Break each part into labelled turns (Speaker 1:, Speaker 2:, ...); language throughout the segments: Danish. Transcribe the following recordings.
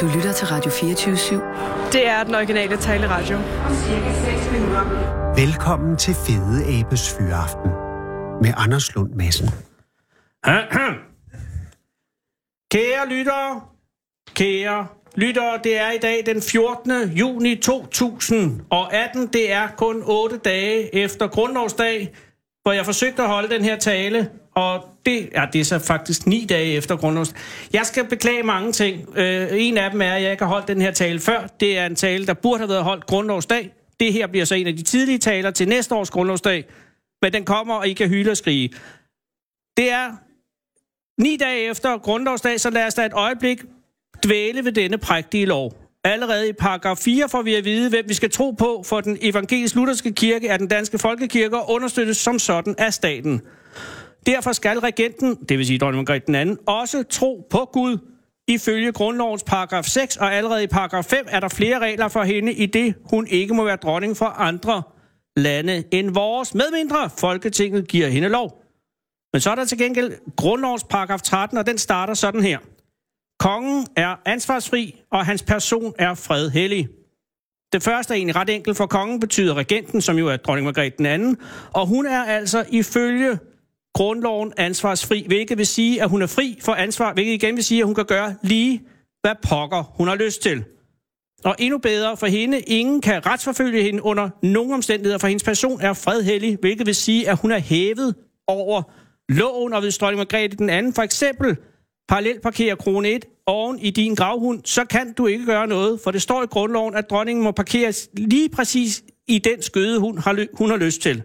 Speaker 1: Du lytter til Radio 24 /7.
Speaker 2: Det er den originale taleradio.
Speaker 3: Velkommen til Fede Abes Fyraften med Anders Lund Madsen.
Speaker 4: Kære lyttere, kære lyttere, det er i dag den 14. juni 2018. Det er kun 8 dage efter grundlovsdag, hvor jeg forsøgte at holde den her tale. Og det, ja, det er så faktisk 9 dage efter grundlovsdag. Jeg skal beklage mange ting. Øh, en af dem er, at jeg ikke har holdt den her tale før. Det er en tale, der burde have været holdt grundlovsdag. Det her bliver så en af de tidlige taler til næste års grundlovsdag. Men den kommer, og I kan hyle og skrige. Det er Ni dage efter grundlovsdag, så lad os da et øjeblik dvæle ved denne prægtige lov. Allerede i paragraf 4 får vi at vide, hvem vi skal tro på, for den evangelisk-lutherske kirke er den danske folkekirke og understøttes som sådan af staten. Derfor skal regenten, det vil sige dronning Margrethe den anden, også tro på Gud. Ifølge grundlovens paragraf 6 og allerede i paragraf 5 er der flere regler for hende, i det hun ikke må være dronning for andre lande end vores, medmindre Folketinget giver hende lov. Men så er der til gengæld grundlovens paragraf 13, og den starter sådan her. Kongen er ansvarsfri, og hans person er fredhellig. Det første er egentlig ret enkelt, for kongen betyder regenten, som jo er dronning Margrethe den anden, og hun er altså ifølge grundloven ansvarsfri, hvilket vil sige, at hun er fri for ansvar, hvilket igen vil sige, at hun kan gøre lige, hvad pokker hun har lyst til. Og endnu bedre for hende, ingen kan retsforfølge hende under nogen omstændigheder, for hendes person er fredhellig, hvilket vil sige, at hun er hævet over loven, og hvis dronning Margrethe den anden for eksempel parallelt parkerer krone 1 oven i din gravhund, så kan du ikke gøre noget, for det står i grundloven, at dronningen må parkeres lige præcis i den skøde, hun har, ly- hun har lyst til.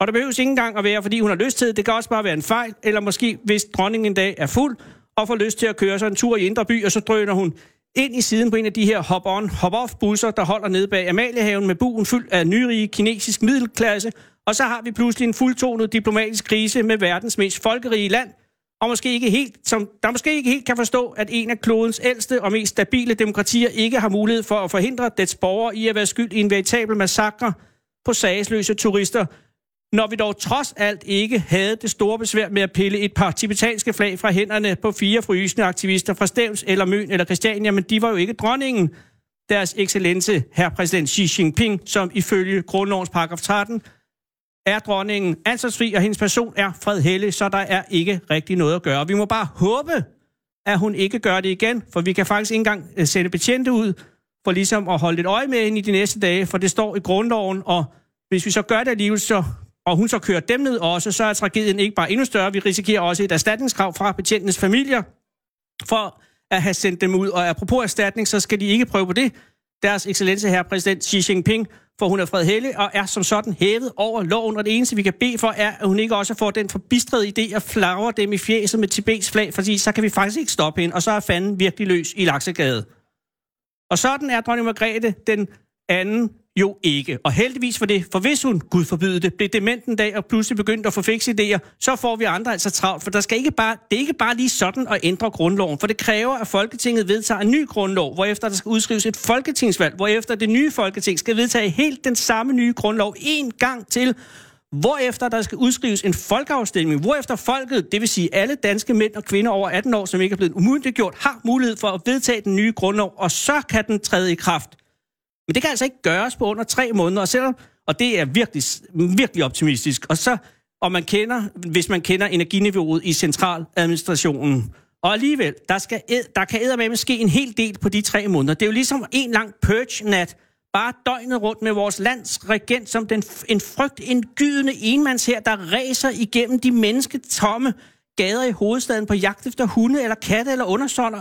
Speaker 4: Og det behøves ikke engang at være, fordi hun har lyst til det. Det kan også bare være en fejl, eller måske hvis dronningen en dag er fuld og får lyst til at køre sig en tur i Indre By, og så drøner hun ind i siden på en af de her hop-on, hop-off busser, der holder nede bag Amaliehaven med buen fyldt af nyrige kinesisk middelklasse, og så har vi pludselig en fuldtonet diplomatisk krise med verdens mest folkerige land, og måske ikke helt, som, der måske ikke helt kan forstå, at en af klodens ældste og mest stabile demokratier ikke har mulighed for at forhindre dets borgere i at være skyld i en veritabel massakre på sagsløse turister, når vi dog trods alt ikke havde det store besvær med at pille et par tibetanske flag fra hænderne på fire frysende aktivister fra Stævns eller Møn eller Christiania, men de var jo ikke dronningen. Deres excellence, herr præsident Xi Jinping, som ifølge grundlovens paragraf 13 er dronningen ansvarsfri, og hendes person er fredhellig, så der er ikke rigtig noget at gøre. Vi må bare håbe, at hun ikke gør det igen, for vi kan faktisk ikke engang øh, sende betjente ud, for ligesom at holde lidt øje med hende i de næste dage, for det står i grundloven, og hvis vi så gør det alligevel, så, og hun så kører dem ned også, så er tragedien ikke bare endnu større, vi risikerer også et erstatningskrav fra betjentenes familier, for at have sendt dem ud. Og apropos erstatning, så skal de ikke prøve på det. Deres excellence herre præsident Xi Jinping, for hun er fredhellig og er som sådan hævet over loven, og det eneste, vi kan bede for, er, at hun ikke også får den forbistrede idé at flagre dem i fjeset med Tibets flag, fordi så kan vi faktisk ikke stoppe hende, og så er fanden virkelig løs i Laksegade. Og sådan er dronning Margrethe den anden jo ikke. Og heldigvis for det, for hvis hun, Gud forbyde det, blev dement en dag og pludselig begyndte at få fikse idéer, så får vi andre altså travlt, for der skal ikke bare, det er ikke bare lige sådan at ændre grundloven, for det kræver, at Folketinget vedtager en ny grundlov, hvorefter der skal udskrives et folketingsvalg, hvorefter det nye folketing skal vedtage helt den samme nye grundlov en gang til, hvorefter der skal udskrives en folkeafstemning, hvorefter folket, det vil sige alle danske mænd og kvinder over 18 år, som ikke er blevet umyndiggjort, har mulighed for at vedtage den nye grundlov, og så kan den træde i kraft. Men det kan altså ikke gøres på under tre måneder, og selvom, og det er virkelig, virkelig optimistisk. Og så, og man kender, hvis man kender energiniveauet i centraladministrationen. Og alligevel, der, skal, ed- der kan eddermame ske en hel del på de tre måneder. Det er jo ligesom en lang purge-nat, bare døgnet rundt med vores lands regent, som den, f- en frygtindgydende enmands her, der ræser igennem de mennesketomme gader i hovedstaden på jagt efter hunde eller katte eller undersåtter,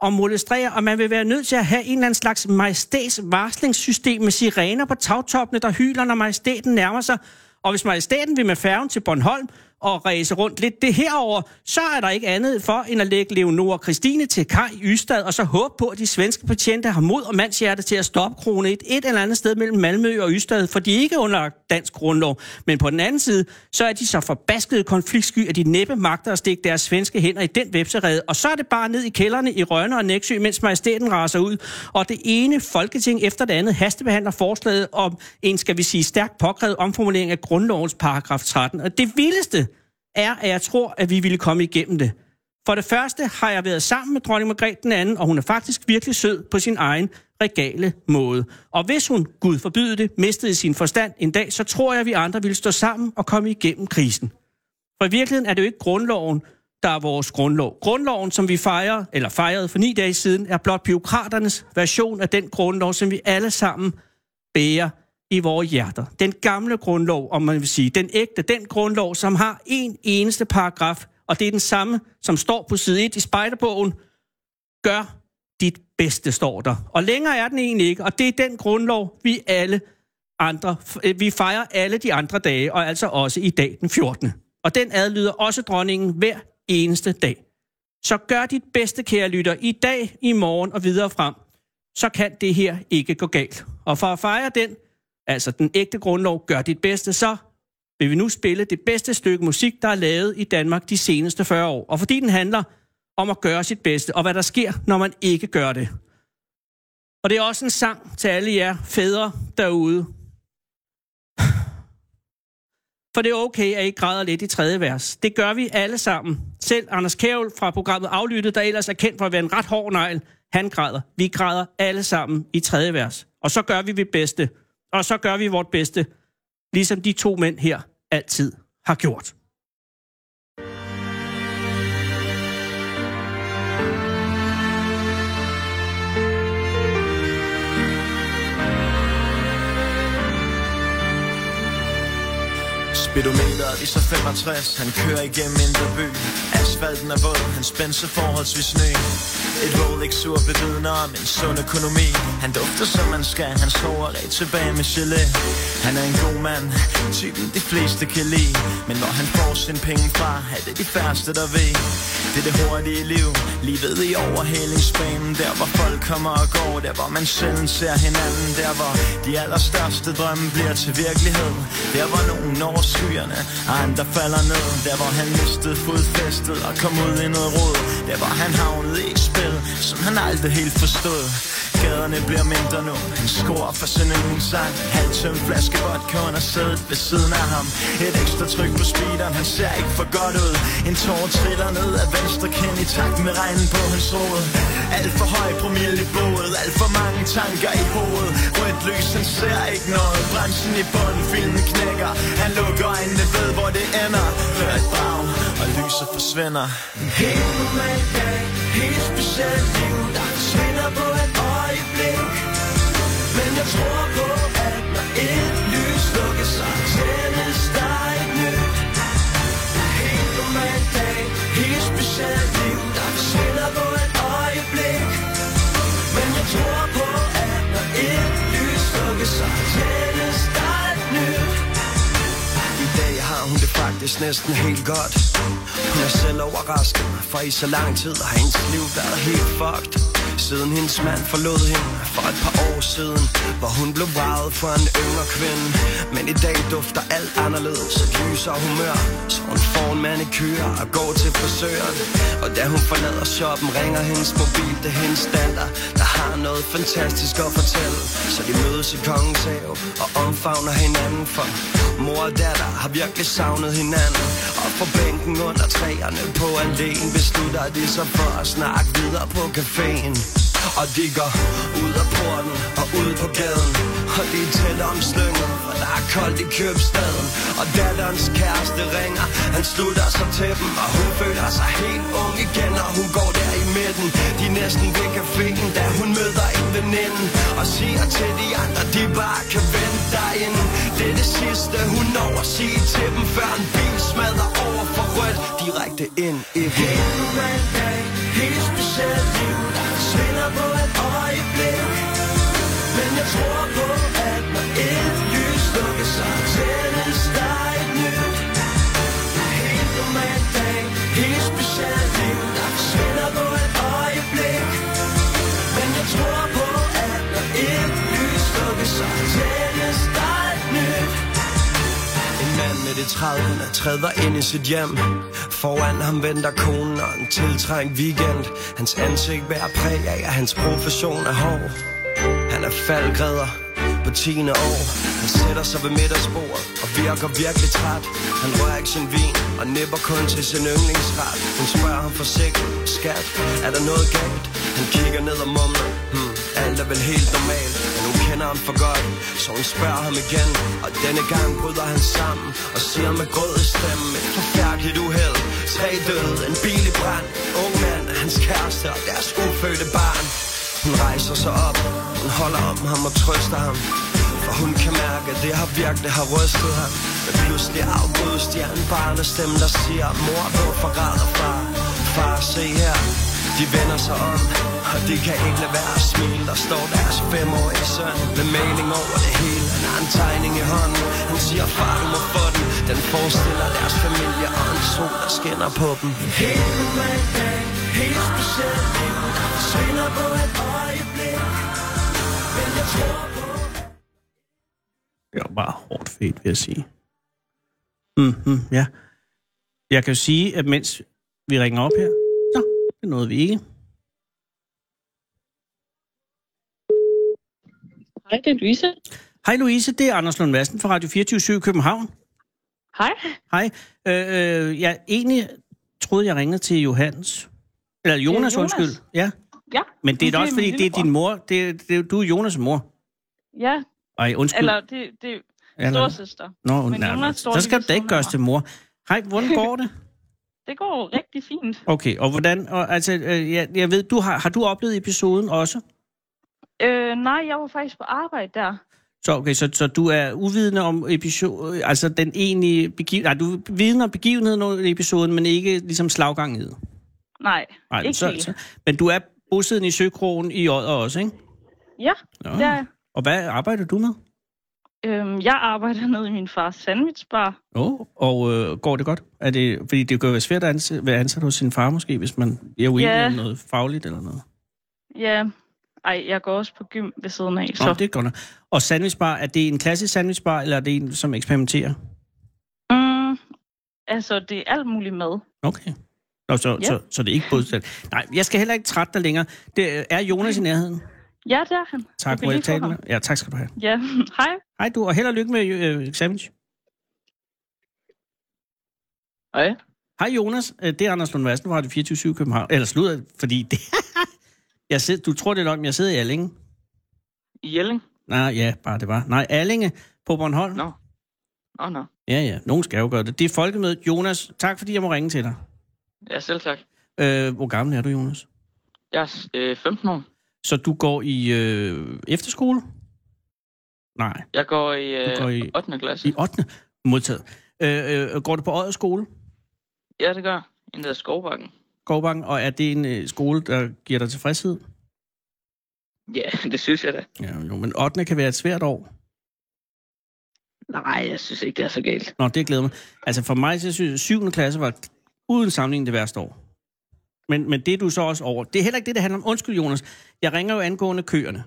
Speaker 4: og molestere, og man vil være nødt til at have en eller anden slags majestæts varslingssystem med sirener på tagtoppene, der hyler, når majestæten nærmer sig. Og hvis majestæten vil med færgen til Bornholm og ræse rundt lidt det herover, så er der ikke andet for end at lægge Leonora Christine til kaj i Ystad, og så håbe på, at de svenske betjente har mod og mandshjerte til at stoppe krone et, et eller andet sted mellem Malmø og Ystad, for de er ikke under dansk grundlov. Men på den anden side, så er de så forbaskede konfliktsky, at de næppe magter at stikke deres svenske hænder i den vepserede, og så er det bare ned i kælderne i Rønne og Næksø, mens majestæten raser ud, og det ene folketing efter det andet hastebehandler forslaget om en, skal vi sige, stærkt påkrævet omformulering af grundlovens paragraf 13. Og det vildeste er, at jeg tror, at vi ville komme igennem det. For det første har jeg været sammen med dronning Margrethe den anden, og hun er faktisk virkelig sød på sin egen regale måde. Og hvis hun, Gud forbyde det, mistede sin forstand en dag, så tror jeg, at vi andre ville stå sammen og komme igennem krisen. For i virkeligheden er det jo ikke grundloven, der er vores grundlov. Grundloven, som vi fejrer, eller fejrede for ni dage siden, er blot byråkraternes version af den grundlov, som vi alle sammen bærer i vores hjerter. Den gamle grundlov, om man vil sige, den ægte, den grundlov, som har en eneste paragraf, og det er den samme, som står på side 1 i spejderbogen, gør dit bedste, står der. Og længere er den egentlig ikke, og det er den grundlov, vi alle andre, øh, vi fejrer alle de andre dage, og altså også i dag den 14. Og den adlyder også dronningen hver eneste dag. Så gør dit bedste, kære lytter, i dag, i morgen og videre frem, så kan det her ikke gå galt. Og for at fejre den, altså den ægte grundlov, gør dit bedste, så vil vi nu spille det bedste stykke musik, der er lavet i Danmark de seneste 40 år. Og fordi den handler om at gøre sit bedste, og hvad der sker, når man ikke gør det. Og det er også en sang til alle jer fædre derude. For det er okay, at I græder lidt i tredje vers. Det gør vi alle sammen. Selv Anders Kævel fra programmet Aflyttet, der ellers er kendt for at være en ret hård negl, han græder. Vi græder alle sammen i tredje vers. Og så gør vi det bedste. Og så gør vi vort bedste, ligesom de to mænd her altid har gjort.
Speaker 5: Speedometeret i så 65 Han kører igennem indre by Asfalten er våd, han spænder sig forholdsvis ny Et Rolex sur bevidner om en sund økonomi Han dufter som man skal, han sover ret tilbage med gelé Han er en god mand, typen de fleste kan lide Men når han får sine penge fra, er det de færreste der ved Det er det hurtige liv, livet i overhalingsbanen Der hvor folk kommer og går, der hvor man sjældent ser hinanden Der hvor de allerstørste drømme bliver til virkelighed Der hvor nogen når over skyerne Og andre falder ned Der hvor han mistede fodfæstet Og kom ud i noget råd Der hvor han havnede i et spil Som han aldrig helt forstod Gaderne bliver mindre nu Han scorer for sin yndlingssang Halvtøm flaske vodka under sædet ved siden af ham Et ekstra tryk på speederen Han ser ikke for godt ud En tårer triller ned af venstre kind I takt med regnen på hans hoved Alt for høj promille i blodet Alt for mange tanker i hovedet Rødt lys han ser ikke noget Bremsen i bund, filmen knækker Han lukker øjnene ved hvor det ender Hører et brag og lyset forsvinder En helt normal dag Helt specielt liv Der forsvinder på et øjeblik Men jeg tror på at når et lys lukkes Så tændes der et nyt En helt normal dag Helt specielt liv Der forsvinder på et øjeblik Men jeg tror på at når et lys lukkes Så tændes der et nyt i dag har hun det faktisk næsten helt godt Hun er selv overrasket, for i så lang tid har hendes liv været helt fucked Siden hendes mand forlod hende for et par år siden Hvor hun blev varet for en yngre kvinde Men i dag dufter alt anderledes et lyser humør Så hun får en mand i køer og går til frisøren Og da hun forlader shoppen ringer hendes mobil Det er hendes datter, der har noget fantastisk at fortælle Så de mødes i kongens have og omfavner hinanden for Mor og datter har virkelig savnet hinanden Og på bænken under træerne på alléen Beslutter de sig for at snakke videre på caféen Og de går ud af porten og ud på gaden Og de tæller om slynget, for der er koldt i købstaden Og datterens kæreste ringer, han slutter sig til dem Og hun føler sig helt ung igen, og hun går der i midten De er næsten ved caféen, da hun møder en veninde Og siger til de andre, de bare kan vente derinde Det er det sidste, hun når at sige til dem Før en bil smadrer over for rødt Direkte ind i dem Helt normal dag, helt specielt liv Der forsvinder på et øjeblik Men jeg tror på, at når et lys lukkes Så tændes der et nyt Helt normal dag, helt specielt liv Der forsvinder på et øjeblik Men jeg tror på, at når et lys lukkes Så tændes der et nyt en mand med det 30'erne træder ind i sit hjem Foran ham venter konen og en tiltrængt weekend Hans ansigt bærer præg af, at hans profession er hård Han er faldgræder
Speaker 6: på 10. år Han sætter sig ved middagsbordet og virker virkelig træt Han rører ikke sin vin og nipper kun til sin yndlingsret Hun spørger ham forsigtigt, skat, er der noget galt? Han kigger ned og mumler, hmm, alt er vel helt normalt Men hun kender ham for godt, så hun spørger ham igen Og denne gang bryder han sammen og siger med grød i stemmen Et forfærdeligt uheld, tre døde, en bil i brand Ung mand, hans kæreste og deres ufødte barn hun rejser sig op, hun holder om ham og trøster ham For hun kan mærke, at det har virkelig har rystet ham Men pludselig afbrydes de af en barnestemme, der siger Mor, hvorfor græder far? Far, se her De vender sig om, og de kan ikke lade være at smile Der står deres femårige søn med maling over det hele Han har en tegning i hånden, han siger far, du må få den Den forestiller deres familie og en sol, der skinner på dem
Speaker 4: Det var bare hårdt fedt, vil jeg sige. Mhm, ja. Jeg kan jo sige, at mens vi ringer op her, så det nåede vi ikke.
Speaker 7: Hej, det er Louise.
Speaker 4: Hej Louise, det er Anders Lund Madsen fra Radio 24 København.
Speaker 7: Hej.
Speaker 4: Hej. Øh, øh, jeg egentlig troede, jeg ringede til Johannes. Eller Jonas,
Speaker 7: Jonas.
Speaker 4: undskyld. Ja.
Speaker 7: Ja,
Speaker 4: Men det er da også,
Speaker 7: min
Speaker 4: fordi det er din
Speaker 7: lillebror.
Speaker 4: mor. Det, det, du er Jonas' mor.
Speaker 7: Ja,
Speaker 4: Ej, undskyld.
Speaker 7: eller det, det er
Speaker 4: Eller-
Speaker 7: storsøster.
Speaker 4: Nå,
Speaker 7: men
Speaker 4: nej,
Speaker 7: Jonas' store
Speaker 4: så skal du da ikke
Speaker 7: lillebror.
Speaker 4: gøres til mor. Hej, hvordan går det?
Speaker 7: Det går rigtig fint.
Speaker 4: Okay, og hvordan... Og, altså, øh, jeg, jeg ved, du har, har du oplevet episoden også?
Speaker 7: Øh, nej, jeg var faktisk på arbejde der.
Speaker 4: Så, okay, så, så du er uvidende om episode, øh, altså den egentlige begivenhed... Nej, du er vidende om begivenheden under episoden, men ikke ligesom slaggangen i det.
Speaker 7: Nej,
Speaker 4: Nej,
Speaker 7: ikke
Speaker 4: så,
Speaker 7: helt.
Speaker 4: så, men du er bosiddende i Søkrogen i Odder også, ikke?
Speaker 7: Ja,
Speaker 4: Nå.
Speaker 7: det er, jeg.
Speaker 4: Og hvad arbejder du med?
Speaker 7: øhm, jeg arbejder nede i min fars sandwichbar.
Speaker 4: Jo, og øh, går det godt? Er det, fordi det kan jo være svært at ansætte, være ansat hos sin far måske, hvis man er uenig
Speaker 7: Ja.
Speaker 4: yeah. om noget fagligt eller noget.
Speaker 7: Ja, ej, jeg går også på gym ved siden af.
Speaker 4: Nå,
Speaker 7: Så.
Speaker 4: det er godt nok. Og sandwichbar, er det en klassisk sandwichbar, eller er det en, som eksperimenterer?
Speaker 7: Mm, altså, det er alt muligt med.
Speaker 4: Okay. Nå, så,
Speaker 7: Ja.
Speaker 4: så, så det er ikke både Nej, jeg skal heller ikke trætte dig længere. Det øh, er Jonas i nærheden.
Speaker 7: Ja, det er han.
Speaker 4: Tak,
Speaker 7: Du kan
Speaker 4: for at
Speaker 7: lige få
Speaker 4: tale med.
Speaker 7: ham.
Speaker 4: Ja, tak skal du have.
Speaker 7: Ja, hej.
Speaker 4: Hej du, og held og lykke med øh, eksamen.
Speaker 7: Hej.
Speaker 4: Hej Jonas, Øh, det er Anders Lund Madsen fra Radio 24 København. Eller slutter, fordi det... jeg sidder, du tror det nok, men jeg sidder i Allinge.
Speaker 7: I Jelling?
Speaker 4: Nej, ja, bare det var. Nej, Allinge på Bornholm.
Speaker 7: Nå. Åh, oh, no.
Speaker 4: Ja, ja, nogen skal jo gøre det. Det er folkemødet. Jonas, tak fordi jeg må ringe til dig.
Speaker 7: Ja, selv tak.
Speaker 4: Øh, hvor gammel er du, Jonas?
Speaker 7: Jeg er øh, 15 år.
Speaker 4: Så du går i øh, efterskole? Nej,
Speaker 7: Jeg går i,
Speaker 4: Du går i-
Speaker 7: 8. klasse.
Speaker 4: i 8. modtaget. Øh, øh, går du på Odder skole,
Speaker 7: Ja, det gør jeg. En der skovbakken.
Speaker 4: Skovbanken, og er det en øh, skole, der giver dig tilfredshed?
Speaker 7: Ja, det synes jeg da.
Speaker 4: Ja, jo, men 8. kan være et svært år.
Speaker 7: Nej, jeg synes ikke, det er så galt.
Speaker 4: Nå, det glæder mig. Altså for mig, så synes jeg, 7. klasse var uden sammenligning det værste år. Men, men det er du så også over. Det er heller ikke det, det handler om. Undskyld, Jonas. Jeg ringer jo angående køerne.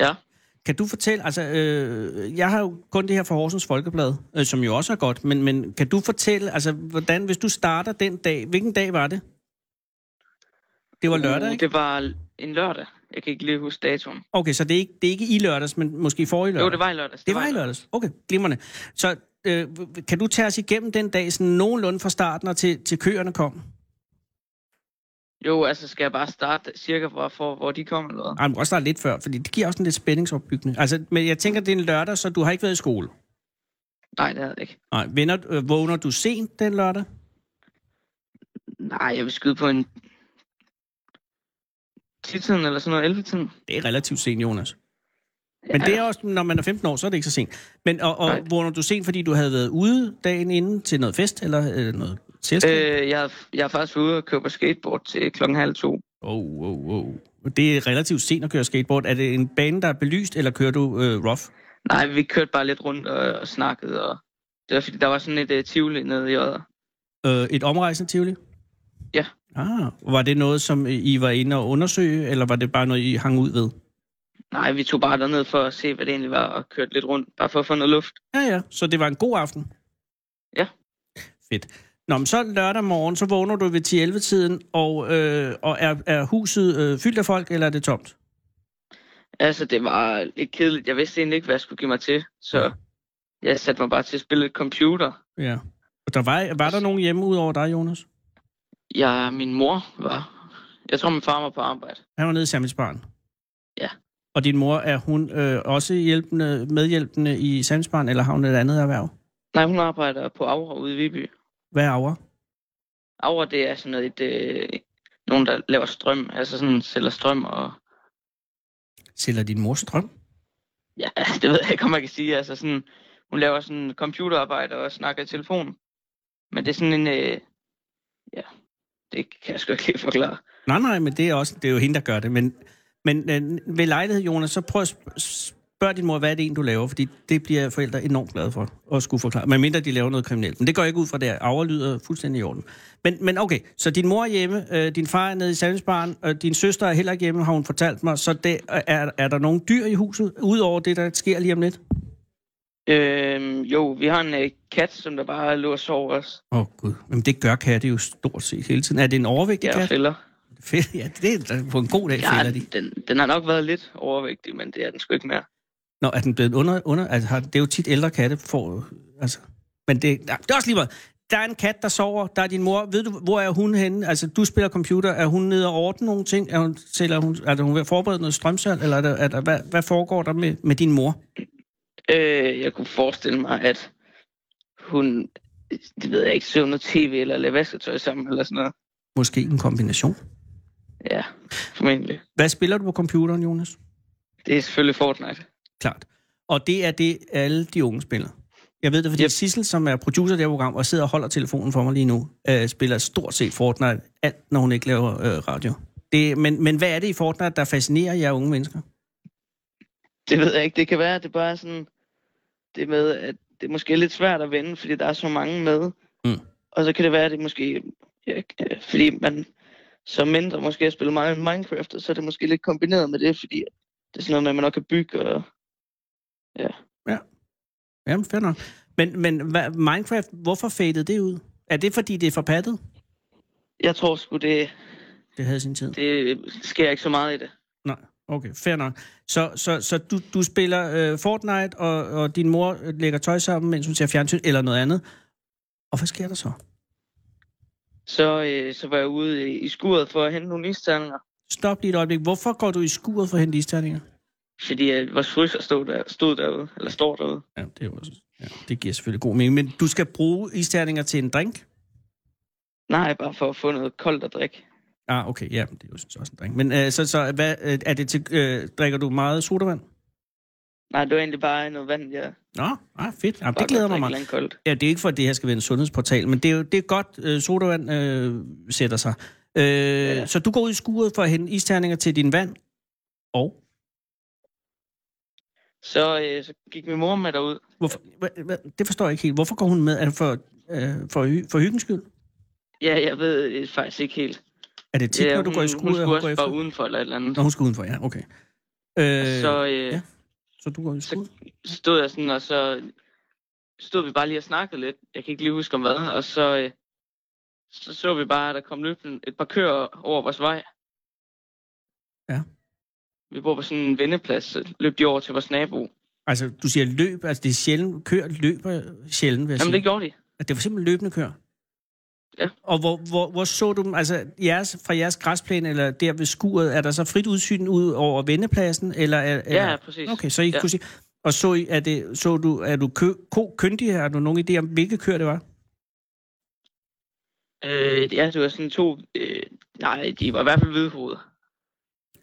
Speaker 7: Ja.
Speaker 4: Kan du fortælle, altså øh, jeg har jo kun det her fra Horsens Folkeblad, øh, som jo også er godt, men, men kan du fortælle, altså hvordan, hvis du starter den dag, hvilken dag var det? Det var lørdag, ikke?
Speaker 7: Mm, Det var en lørdag. Jeg kan ikke lige huske datoen.
Speaker 4: Okay, så det er ikke, det er ikke i lørdags, men måske i forrige lørdag?
Speaker 7: Jo, det var i lørdags.
Speaker 4: Det var i lørdags. Okay, glimrende. Så øh, kan du tage os igennem den dag sådan nogenlunde fra starten og til, til køerne kom?
Speaker 7: Jo, altså skal jeg bare starte cirka fra, for, hvor de kom eller hvad?
Speaker 4: Ej, man kan også starte lidt før, fordi det giver også en lidt spændingsopbygning. Altså, men jeg tænker, det er en lørdag, så du har ikke været i skole.
Speaker 7: Nej, det havde jeg ikke.
Speaker 4: Nej, vender, øh, vågner du sent den lørdag?
Speaker 7: Nej, jeg vil skyde på en... 10-tiden eller sådan noget, 11-tiden.
Speaker 4: Det er relativt sent, Jonas. Men det er også, når man er 15 år, så er det ikke så sent. Men og, og
Speaker 7: Nej.
Speaker 4: vågner du sent, fordi du havde været ude dagen inden til noget fest eller øh, noget selskab? Øh.
Speaker 7: Øh, jeg, er- jeg er faktisk ude og køre på skateboard til klokken halv to.
Speaker 4: Oh, oh, oh. Det er relativt sent at køre skateboard. Er det en bane, der er belyst, eller kører du øh, rough?
Speaker 7: Nej, vi kørte bare lidt rundt og, og snakkede, og det var, fordi der var sådan et uh, tivoli nede i Odder.
Speaker 4: Øh, et omrejsende Tivoli?
Speaker 7: Ja.
Speaker 4: Ah, var det noget, som I var inde og undersøge, eller var det bare noget, I hang ud ved?
Speaker 7: Nej, vi tog bare derned for at se, hvad det egentlig var, og kørte lidt rundt, bare for at få noget luft.
Speaker 4: Ja, ja. Så det var en god aften?
Speaker 7: Ja.
Speaker 4: Fedt. Nå, men så lørdag morgen, så vågner du ved 10-11-tiden, og, øh, og er, er huset øh, fyldt af folk, eller er det tomt?
Speaker 8: Altså, det var lidt kedeligt. Jeg vidste egentlig ikke, hvad jeg skulle give mig til, så jeg satte mig bare til at spille lidt computer.
Speaker 4: Ja. Og der var, var der nogen hjemme udover dig, Jonas?
Speaker 8: Jeg, min mor var... Jeg tror, min far var på arbejde.
Speaker 4: Han var nede i Sammelsbarn.
Speaker 8: Ja.
Speaker 4: Og din mor, er hun øh, også hjælpende, medhjælpende i Sammelsbarn, eller har hun et andet erhverv?
Speaker 8: Nej, hun arbejder på Aura ude i Viby.
Speaker 4: Hvad er over?
Speaker 8: Aura, det er sådan noget, et, øh, nogen, der laver strøm, altså sådan sælger strøm, og
Speaker 4: Sælger din mor strøm?
Speaker 8: ja, det ved jeg ikke, om man kan sige, altså sådan, hun laver sådan computerarbejde og snakker i telefon. Men det er sådan en, øh, ja, det kan jeg sgu ikke lige forklare.
Speaker 4: Nej, nej, men det er, også, det er jo hende, der gør det. Men, men øh, ved lejlighed, Jonas, så prøv at sp- spørg din mor, hvad er det en, du laver? Fordi det bliver forældre enormt glade for at skulle forklare. Men mindre de laver noget kriminelt. Men det går jeg ikke ud fra der. Aura lyder fuldstændig i orden. Men, men okay, så din mor er hjemme, øh, din far er nede i salgsbaren, og din søster er heller ikke hjemme, har hun fortalt mig. Så det, øh, er, er der nogle dyr i huset, udover det, der sker lige om lidt?
Speaker 8: Øhm, jo, vi har en øh, kat, som der bare lå og sov os.
Speaker 4: Åh oh, gud, Jamen, det gør katte jo stort set hele tiden. Er det en overvægtig
Speaker 8: Ja,
Speaker 4: kat?
Speaker 8: fælder.
Speaker 4: Fedt. Ja, det er på en god dag,
Speaker 8: Ja,
Speaker 4: fælder de.
Speaker 8: den, den har nok været lidt overvægtig, men det er den sgu ikke mere.
Speaker 4: Nå, er den blevet under... under altså, har, det er jo tit ældre katte, får... Altså, men det, nej, det er også lige meget. Der er en kat, der sover. Der er din mor. Ved du, hvor er hun henne? Altså, du spiller computer. Er hun nede og ordne nogle ting? Er hun, sælger hun, er hun ved at forberede noget strømsalg? Eller er der, er der, hvad, hvad foregår der med, med din mor?
Speaker 8: Øh, jeg kunne forestille mig, at hun, det ved jeg ikke, så noget tv eller lavede vasketøj sammen eller sådan noget.
Speaker 4: Måske en kombination.
Speaker 8: Ja, formentlig.
Speaker 4: Hvad spiller du på computeren, Jonas?
Speaker 8: Det er selvfølgelig Fortnite.
Speaker 4: Klart. Og det er det, alle de unge spiller. Jeg ved det, fordi
Speaker 8: Yep.
Speaker 4: Sissel, som er producer af det her program, og sidder og holder telefonen for mig lige nu, øh, spiller stort set Fortnite, alt når hun ikke laver øh, radio. Det, men, men hvad er det i Fortnite, der fascinerer jer unge mennesker?
Speaker 8: Det ved jeg ikke. Det kan være, at det bare er sådan... Det med, at det er måske er lidt svært at vende, fordi der er så mange med.
Speaker 4: Mm.
Speaker 8: Og så kan det være, at det måske... Ja, øh, fordi man som mindre måske har spillet meget Minecraft, og så er det måske lidt kombineret med det, fordi det er sådan noget med, at man nok kan bygge og...
Speaker 4: Jamen, fair nok. Men, men hvad, Minecraft, hvorfor fadede det ud? Er det, fordi det er forpattet?
Speaker 8: Jeg tror sgu, det,
Speaker 4: Det havde sin tid.
Speaker 8: det sker ikke så meget i det.
Speaker 4: Nej, okay, fair nok. Så, så, så du, du spiller øh, Fortnite, og, og din mor øh, lægger tøj sammen, mens hun ser fjernsyn eller noget andet. Og hvad sker der så?
Speaker 8: Så, øh, så var jeg ude i, i skuret for at hente nogle isterninger,
Speaker 4: Stop lige et øjeblik. Hvorfor går du i skuret for at hente isterninger?
Speaker 8: fordi øh, vores fryser stod, der, stod derude, eller står derude.
Speaker 4: Ja, det, er jo også, ja, det giver selvfølgelig god mening. Men du skal bruge isterninger til en drink?
Speaker 8: Nej, bare for at få noget koldt at drikke.
Speaker 4: Ah, okay, ja, det er jo sådan set også en drink. Men øh, så, så hvad, øh, er det til, øh, drikker du meget sodavand?
Speaker 8: Nej, det var egentlig bare noget vand, jeg
Speaker 4: Nå, ah, fedt. Jamen,
Speaker 8: bare
Speaker 4: det glæder mig
Speaker 8: godt drikke
Speaker 4: meget.
Speaker 8: langt koldt.
Speaker 4: Ja, det er ikke for, at det her skal være en sundhedsportal, men det er jo det er godt, øh, sodavand øh, sætter sig. Øh, ja. Så du går ud i skuret for at hente isterninger til din vand, og
Speaker 8: Så, øh, så gik min mor med derud.
Speaker 4: hvorfor, hva, hva, det forstår jeg ikke helt. Hvorfor går hun med? Er det for, øh, for, hy, for hyggens skyld?
Speaker 8: Ja, jeg ved øh, faktisk ikke helt.
Speaker 4: Er det tit,
Speaker 8: ja,
Speaker 4: når du
Speaker 8: hun,
Speaker 4: går i
Speaker 8: hun
Speaker 4: skuret, at
Speaker 8: skulle
Speaker 4: hun går
Speaker 8: også
Speaker 4: efter?
Speaker 8: bare udenfor eller et eller andet.
Speaker 4: Nå, hun skal udenfor, ja, okay. Øh,
Speaker 8: Så
Speaker 4: så,
Speaker 8: øh,
Speaker 4: ja.
Speaker 8: ja.
Speaker 4: så du går i skud?
Speaker 8: stod jeg sådan, og så stod vi bare lige og snakkede lidt. Jeg kan ikke lige huske om hvad. Og så, øh, så så vi bare, at der kom løbende et par køer over vores vej.
Speaker 4: Ja.
Speaker 8: Vi bor på sådan en vendeplads, så løb de over til vores nabo.
Speaker 4: Altså, du siger løb, altså det er sjældent, køer løber sjældent, vil jeg
Speaker 8: Jamen,
Speaker 4: sige.
Speaker 8: det gjorde de.
Speaker 4: At det var simpelthen løbende køer.
Speaker 8: Ja.
Speaker 4: Og hvor, hvor, hvor så du dem, altså jeres, fra jeres græsplæne, eller der ved skuret, er der så frit udsyn ud over vendepladsen? Eller, er,
Speaker 8: Ja,
Speaker 4: eller?
Speaker 8: præcis.
Speaker 4: Okay, så I ja.
Speaker 8: Ja.
Speaker 4: kunne sige... Og så, I- er, det, så du, er du kø, ko kyndig her? Har du nogen idé om, hvilke køer det var?
Speaker 8: Øh, ja, det var sådan to... Øh, nej, de var i hvert fald hvidhoved.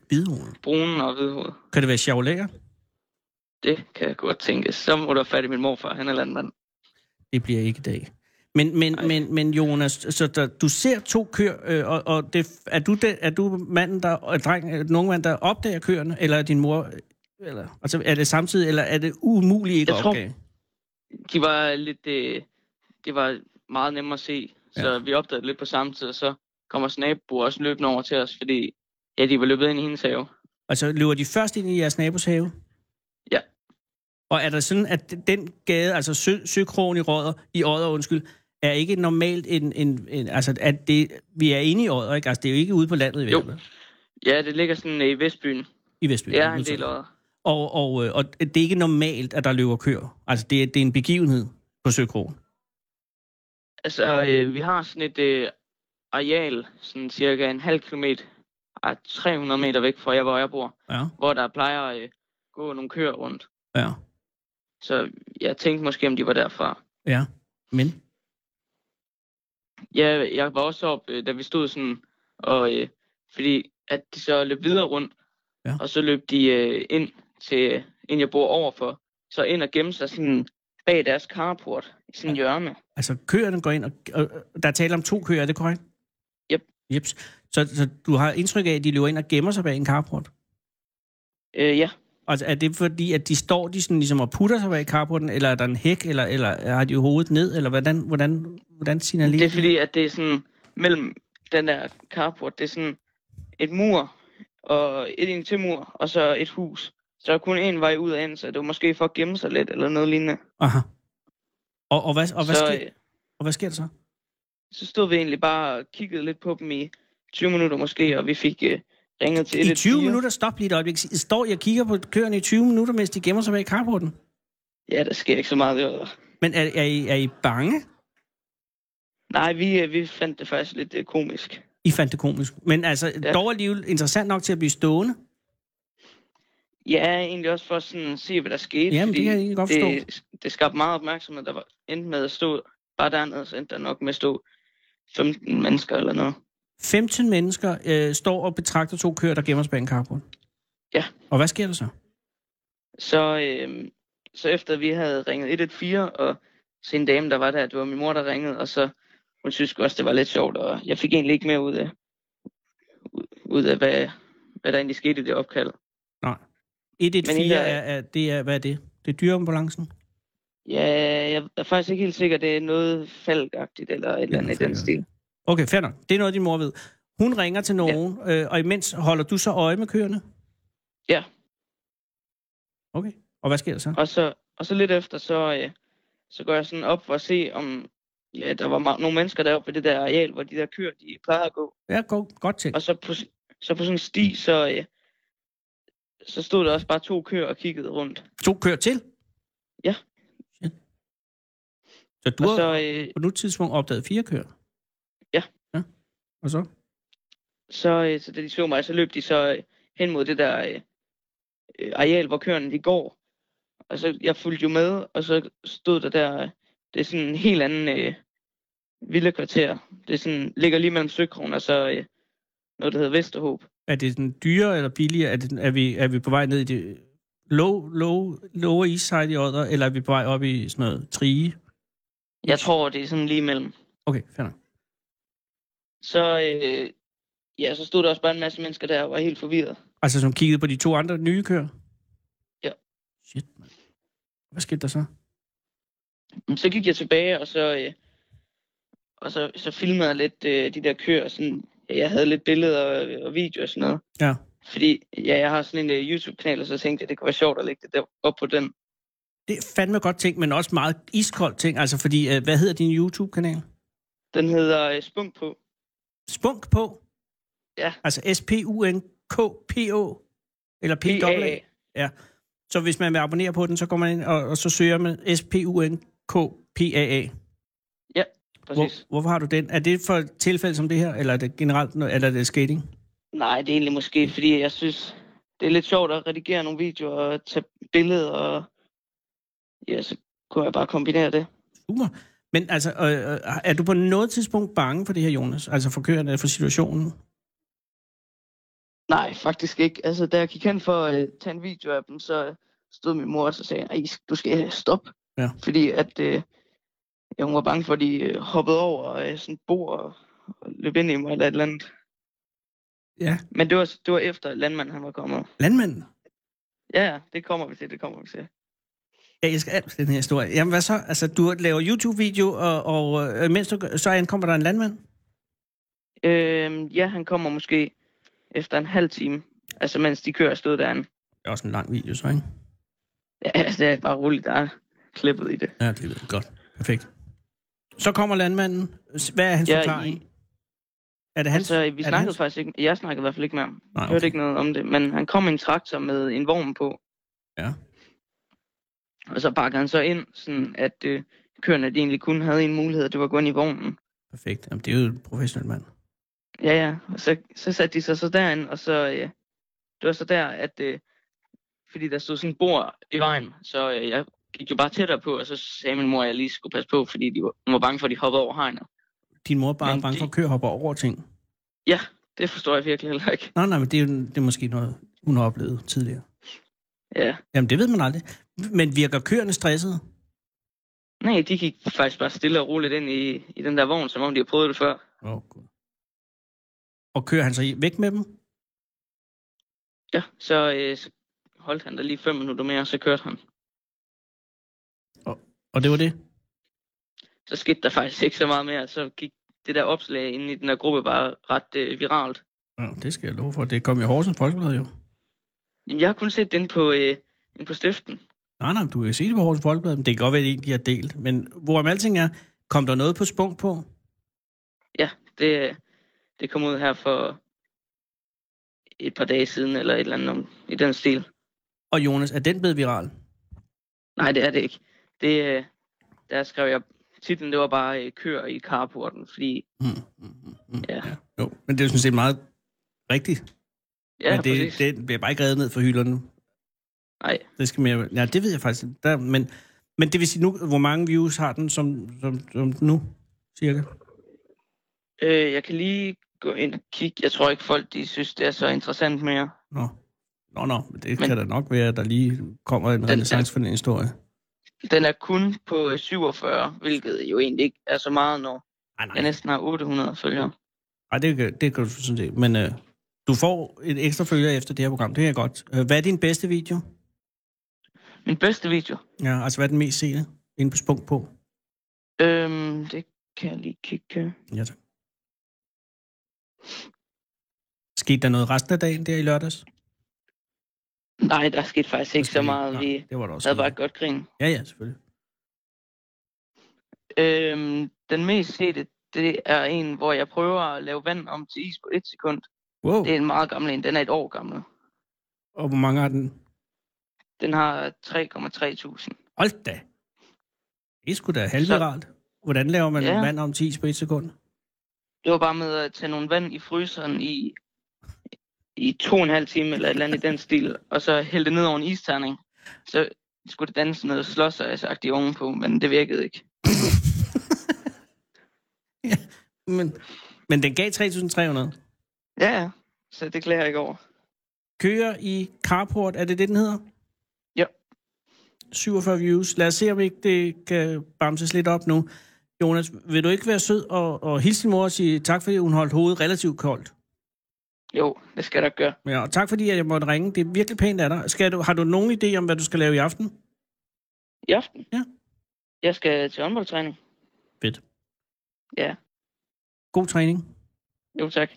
Speaker 4: Hvidhorn.
Speaker 8: Brune og hvidhoved.
Speaker 4: Kan det være sjavlæger?
Speaker 8: Det kan jeg godt tænke. Så må du have fat i min morfar. Han er landmand.
Speaker 4: Det bliver ikke i dag. Men, men,
Speaker 8: Nej.
Speaker 4: men, men Jonas, så der, du ser to køer, øh, og, og det, er, du den, er du manden, der, og dreng, øh, den unge mand, der opdager køerne, eller er din mor, øh, eller, altså, er det samtidig, eller er det umuligt ikke
Speaker 8: Jeg
Speaker 4: at
Speaker 8: tror-
Speaker 4: opdage?
Speaker 8: De var lidt... Øh, det var meget nemmere at se. Så vi opdagede det lidt på samme tid, og så kommer snabbo også løbende over til os, fordi ja, de var løbet ind i hendes have.
Speaker 4: Altså, løber de først ind i jeres nabos have?
Speaker 8: Ja.
Speaker 4: Og er der sådan, at den gade, altså sø, søkrogen i Odder, i Odder, undskyld, er ikke normalt en, en, en altså, at det, vi er inde i Odder, ikke? Altså, det er jo ikke ude på landet i
Speaker 8: Jo.
Speaker 4: hvert fald.
Speaker 8: Ja, det ligger sådan øh, i Vestbyen.
Speaker 4: i Vestby.
Speaker 8: Det er en del år.
Speaker 4: Og, og, øh, og det er ikke normalt, at der løber køer. Altså, det er, det er en begivenhed på Søkrogen.
Speaker 8: Altså, øh, vi har sådan et øh, areal, sådan cirka en halv kilometer, ah, 300 meter væk fra, jeg, hvor jeg bor,
Speaker 4: Ja,
Speaker 8: hvor der plejer at øh, gå nogle køer rundt.
Speaker 4: ja,
Speaker 8: Så jeg tænkte måske, om de var derfra.
Speaker 4: ja. Men?
Speaker 8: Ja, jeg var også op, øh, da vi stod sådan, og øh, fordi at de så løb videre rundt,
Speaker 4: Ja.
Speaker 8: og så løb de øh, ind til, øh, ind jeg bor overfor, så ind og gemte sig sådan bag deres carport i sådan en hjørne.
Speaker 4: Altså, køerne går ind, og, og og der er tale om to køer, er det korrekt?
Speaker 8: Yep.
Speaker 4: Jeps. Så, så du har indtryk af, at de løber ind og gemmer sig bag en carport?
Speaker 8: Øh, ja,
Speaker 4: Altså, er det fordi, at de står de sådan, ligesom og putter sig bag carporten, eller er der en hæk, eller, eller har de hovedet ned, eller hvordan, hvordan, hvordan signalerer
Speaker 8: det er
Speaker 4: de?
Speaker 8: fordi, at det er sådan mellem den der carport, det er sådan et mur, og et indtilmur, og så et hus. Så der er kun én vej ud og ind, så det var måske for at gemme sig lidt, eller noget lignende.
Speaker 4: Aha. Og, og, hvad, og, hvad
Speaker 8: så,
Speaker 4: sker,
Speaker 8: øh,
Speaker 4: og hvad sker der så?
Speaker 8: så stod vi egentlig bare og kiggede lidt på dem i 20 minutter måske, og vi fik øh, ringet til
Speaker 4: I
Speaker 8: 114.
Speaker 4: 20 minutter, stop lige et øjeblik. Står jeg og kigger på køerne i 20 minutter, mens de gemmer sig bag carporten?
Speaker 8: Ja, der sker ikke så meget derude.
Speaker 4: Men er, er, I, er I bange?
Speaker 8: Nej, vi, øh, vi fandt det faktisk lidt øh, komisk.
Speaker 4: I fandt det komisk. Men altså, ja.
Speaker 8: Ja.
Speaker 4: dog alligevel interessant nok til at blive stående.
Speaker 8: Ja, egentlig også for sådan at se, hvad der skete.
Speaker 4: Jamen, det
Speaker 8: fordi
Speaker 4: kan jeg egentlig godt
Speaker 8: det, det skabte meget opmærksomhed, der var, endte med at stå bare dernede, så endte der nok med at stå 15 mennesker eller noget.
Speaker 4: 15 mennesker øh, står og betragter to køer, der gemmer sig bag en carport.
Speaker 8: Ja.
Speaker 4: Og hvad sker der så?
Speaker 8: Så, øh, så efter vi havde ringet 114, og så en dame, der var der, det var min mor, der ringede, og så hun synes også, det var lidt sjovt, og jeg fik egentlig ikke mere ud af, ud- ud af hvad, hvad der egentlig skete i det opkald.
Speaker 4: 114
Speaker 8: Men I
Speaker 4: er,
Speaker 8: er-
Speaker 4: er, det er, hvad er det? Det er dyreambulancen?
Speaker 8: Ja, jeg er faktisk ikke helt sikker, det er noget falkagtigt eller et eller andet i den stil.
Speaker 4: Okay, fair nok. Det er noget, din mor ved. Hun ringer til nogen, ja. øh, og imens holder du så øje med køerne?
Speaker 8: Ja.
Speaker 4: Okay. Og hvad sker der så?
Speaker 8: Og så, og så lidt efter, så, øh, så går jeg sådan op for at se, om ja, der var ma- nogle mennesker deroppe ved det der areal, hvor de der køer, de plejer at gå.
Speaker 4: Ja, go, godt tænkt.
Speaker 8: Og så på, så på sådan en sti, så, øh, så stod der også bare to køer og kiggede rundt.
Speaker 4: To køer til?
Speaker 8: Ja.
Speaker 4: Shit. Så du
Speaker 8: og
Speaker 4: har
Speaker 8: så, øh,
Speaker 4: på nu tidspunkt opdaget fire køer?
Speaker 8: Ja.
Speaker 4: Ja. Og så?
Speaker 8: så, øh, så da de så mig, så løb de så øh, hen mod det der øh, øh, areal, hvor køerne de går. Og så jeg fulgte jo med, og så stod der der, øh, det er sådan en helt anden øh, villekvarter. Det er sådan, ligger lige mellem Søkrogen og så øh, noget, der hedder Vesterhåb.
Speaker 4: Er det den dyre eller billigere? Er, det, er, vi, er vi på vej ned i det low, low, lower east side i Odder, eller er vi på vej op i sådan noget trige?
Speaker 8: Jeg tror, det er sådan lige mellem.
Speaker 4: Okay, fair nok.
Speaker 8: Så, øh, ja, så stod der også bare en masse mennesker der og var helt forvirret.
Speaker 4: Altså som kiggede på de to andre nye køer?
Speaker 8: Ja.
Speaker 4: Shit, man. Hvad skete der så?
Speaker 8: Men Så gik jeg tilbage, og så, øh, og så, så filmede jeg lidt øh, de der køer. Sådan, jeg havde lidt billeder og, og videoer og sådan noget.
Speaker 4: Ja.
Speaker 8: Fordi ja, jeg har sådan en øh, YouTube-kanal, og så tænkte jeg, det kunne være sjovt at lægge det der op på den.
Speaker 4: Det er fandme godt ting, men også meget iskoldt ting. Altså fordi, øh, hvad hedder din YouTube-kanal?
Speaker 8: Den hedder øh, Spunk på.
Speaker 4: Spunk på?
Speaker 8: Ja.
Speaker 4: Altså S-P-U-N-K-P-O? Eller p
Speaker 8: PA.
Speaker 4: Ja. Så hvis man vil abonnere på den, så går man ind, og, og så søger man S-P-U-N-K-P-A-A.
Speaker 8: Præcis.
Speaker 4: Hvor, hvorfor har du den? Er det for et tilfælde som det her, eller er det generelt, noget- eller er det skating?
Speaker 8: Nej, det er egentlig måske, fordi jeg synes, det er lidt sjovt at redigere nogle videoer og tage billeder. Og, ja, så kunne jeg bare kombinere det.
Speaker 4: Super. Men altså, øh, øh, er du på noget tidspunkt bange for det her, Jonas? Altså for køerne, for situationen?
Speaker 8: Nej, faktisk ikke. Altså, da jeg gik hen for at øh, tage en video af dem, så stod min mor og så sagde, at du skal stoppe.
Speaker 4: Ja.
Speaker 8: Fordi at, øh, ja, hun var bange for, at de øh, hoppede over øh, sådan et bord og, og løb ind i mig eller et eller andet.
Speaker 4: Ja.
Speaker 8: Men det var, det var efter landmanden han var kommet.
Speaker 4: Landmanden?
Speaker 8: Ja, ja, det kommer vi til, det kommer vi til.
Speaker 4: Jeg elsker alt den her historie. Jamen hvad så? Altså, du laver YouTube-video, og, og øh, mens du, gør- så ankommer der en landmand?
Speaker 8: Øhm, ja, han kommer måske efter en halv time. Altså, mens de kører stod derinde.
Speaker 4: Det er også en lang video, så, ikke?
Speaker 8: Ja, altså, det er bare roligt, der er klippet i det.
Speaker 4: Ja, det lyder godt. Perfekt. Så kommer landmanden. Hvad er hans
Speaker 8: Ja,
Speaker 4: forklaring?
Speaker 8: I,
Speaker 4: Er det hans?
Speaker 8: Altså, vi
Speaker 4: er det
Speaker 8: snakkede
Speaker 4: hans?
Speaker 8: faktisk ikke, jeg snakkede i hvert fald ikke med ham.
Speaker 4: Nej,
Speaker 8: Jeg hørte ikke noget om det, men han kom i en traktor med en vogn på.
Speaker 4: Ja.
Speaker 8: Og så pakkede han så ind, sådan at øh, køerne de egentlig kun havde en mulighed, og det var at gå ind i vognen.
Speaker 4: Perfekt. Jamen, det er jo en professionel mand.
Speaker 8: Ja, ja. Og så, så satte de sig så derind, og så... Øh, det var så der, at... Øh, fordi der stod sådan et bord i vejen, så øh, jeg gik jo bare tættere på, og så sagde min mor, at jeg lige skulle passe på, fordi de var, hun var bange for, at de hoppede over hegnet.
Speaker 4: Din mor er bare
Speaker 8: Men
Speaker 4: bange
Speaker 8: det-
Speaker 4: for at køre hopper over ting.
Speaker 8: Ja, det forstår jeg virkelig heller ikke.
Speaker 4: Nej, nej, men det er, jo- det er måske noget, hun har oplevet tidligere.
Speaker 8: Ja.
Speaker 4: Jamen, det ved man aldrig. Men virker køerne stressede?
Speaker 8: Nej, de gik faktisk bare stille og roligt ind i, i den der vogn, som om de har prøvet det før.
Speaker 4: Åh, oh, gud. Og kører han så i- væk med dem?
Speaker 8: Ja, så, øh, så holdt han der lige fem minutter mere, og så kørte han.
Speaker 4: Og det var det?
Speaker 8: Så skete der faktisk ikke så meget mere, så gik det der opslag inde i den der gruppe bare ret øh, viralt.
Speaker 4: Ja, det skal jeg love for. Det kom i Horsens Folkeblad jo.
Speaker 8: Jamen, jeg har kun set den på, øh, den på stiften.
Speaker 4: Nej, nej, du kan se det på Horsens Folkeblad. men Det kan godt være, at det ikke de har delt. Men hvorom alting er, kom der noget på spunk på?
Speaker 8: Ja, det, øh, det kom ud her for et par dage siden, eller et eller andet om, i den stil.
Speaker 4: Og Jonas, er den blevet viral?
Speaker 8: Nej, det er det ikke. Det, øh, der skrev jeg, titlen det var bare øh, køer i carporten, fordi...
Speaker 4: Mm, mm, mm, mm.
Speaker 8: Ja.
Speaker 4: Jo, men det er jo sådan set meget rigtigt.
Speaker 8: Ja,
Speaker 4: men det,
Speaker 8: præcis.
Speaker 4: det bliver bare ikke reddet ned for hylderne.
Speaker 8: Nej,
Speaker 4: Det skal mere... Ja, det ved jeg faktisk. ikke. Der, men, men det vil sige nu, hvor mange views har den som, som, som nu, cirka?
Speaker 8: Øh, jeg kan lige gå ind og kigge. Jeg tror ikke, folk de synes, det er så interessant mere.
Speaker 4: Nå, nå, nå men det
Speaker 8: Men-
Speaker 4: kan da nok være, at der lige kommer en renaissance for den historie.
Speaker 8: Den er kun på øh, 47, hvilket jo egentlig ikke er så meget, når
Speaker 4: Ej,
Speaker 8: jeg
Speaker 4: nej,
Speaker 8: næsten har 800 følgere.
Speaker 4: nej det, kan, det kan du sådan set. Men øh, du får et ekstra følger efter det her program, det kan jeg godt. Øh, Hvad er din bedste video?
Speaker 8: Min bedste video,
Speaker 4: Ja, altså hvad er den mest seende inde på Spunk på?
Speaker 8: øhm, det kan jeg lige kigge.
Speaker 4: Ja, tak. Skete der noget resten af dagen der i lørdags?
Speaker 8: Nej, der skete faktisk ikke så meget.
Speaker 4: Nej,
Speaker 8: Vi
Speaker 4: det var der også.
Speaker 8: havde bare et
Speaker 4: ikke.
Speaker 8: godt grin.
Speaker 4: Ja, ja, selvfølgelig.
Speaker 8: Øhm, den mest sete, det er en, hvor jeg prøver at lave vand om til is på et sekund.
Speaker 4: Wow.
Speaker 8: Det er en meget gammel en. Den er et år gammel.
Speaker 4: Og hvor mange har den?
Speaker 8: Den har 3,3 tusind.
Speaker 4: Hold da. Det er sgu da
Speaker 8: Så-
Speaker 4: halvviralt. Hvordan laver man
Speaker 8: Ja.
Speaker 4: vand om 10 på et sekund?
Speaker 8: Det var bare med at tage nogle vand i fryseren i, i to og en halv time, eller et eller andet i den stil, og så hælde det ned over en isterning. Så skulle det danse noget slåsøjsagtigt ovenpå, men det virkede ikke.
Speaker 4: Men, men den gav 3.300.
Speaker 8: Ja, ja. Så det klager jeg ikke over.
Speaker 4: Kører i carport, er det det, den hedder?
Speaker 8: Ja.
Speaker 4: 47 views. Lad os se, om ikke det kan bamses lidt op nu. Jonas, vil du ikke være sød og, og hilse din mor og sige tak, fordi hun holdt hovedet relativt koldt?
Speaker 8: Jo, det skal jeg nok gøre.
Speaker 4: Ja, og tak fordi at jeg måtte ringe. Det er virkelig pænt af dig. Skal du, har du nogen idé om, hvad du skal lave i aften?
Speaker 8: I aften?
Speaker 4: Ja.
Speaker 8: Jeg skal til håndboldtræning.
Speaker 4: Fedt.
Speaker 8: Ja.
Speaker 4: God træning.
Speaker 8: Jo, tak.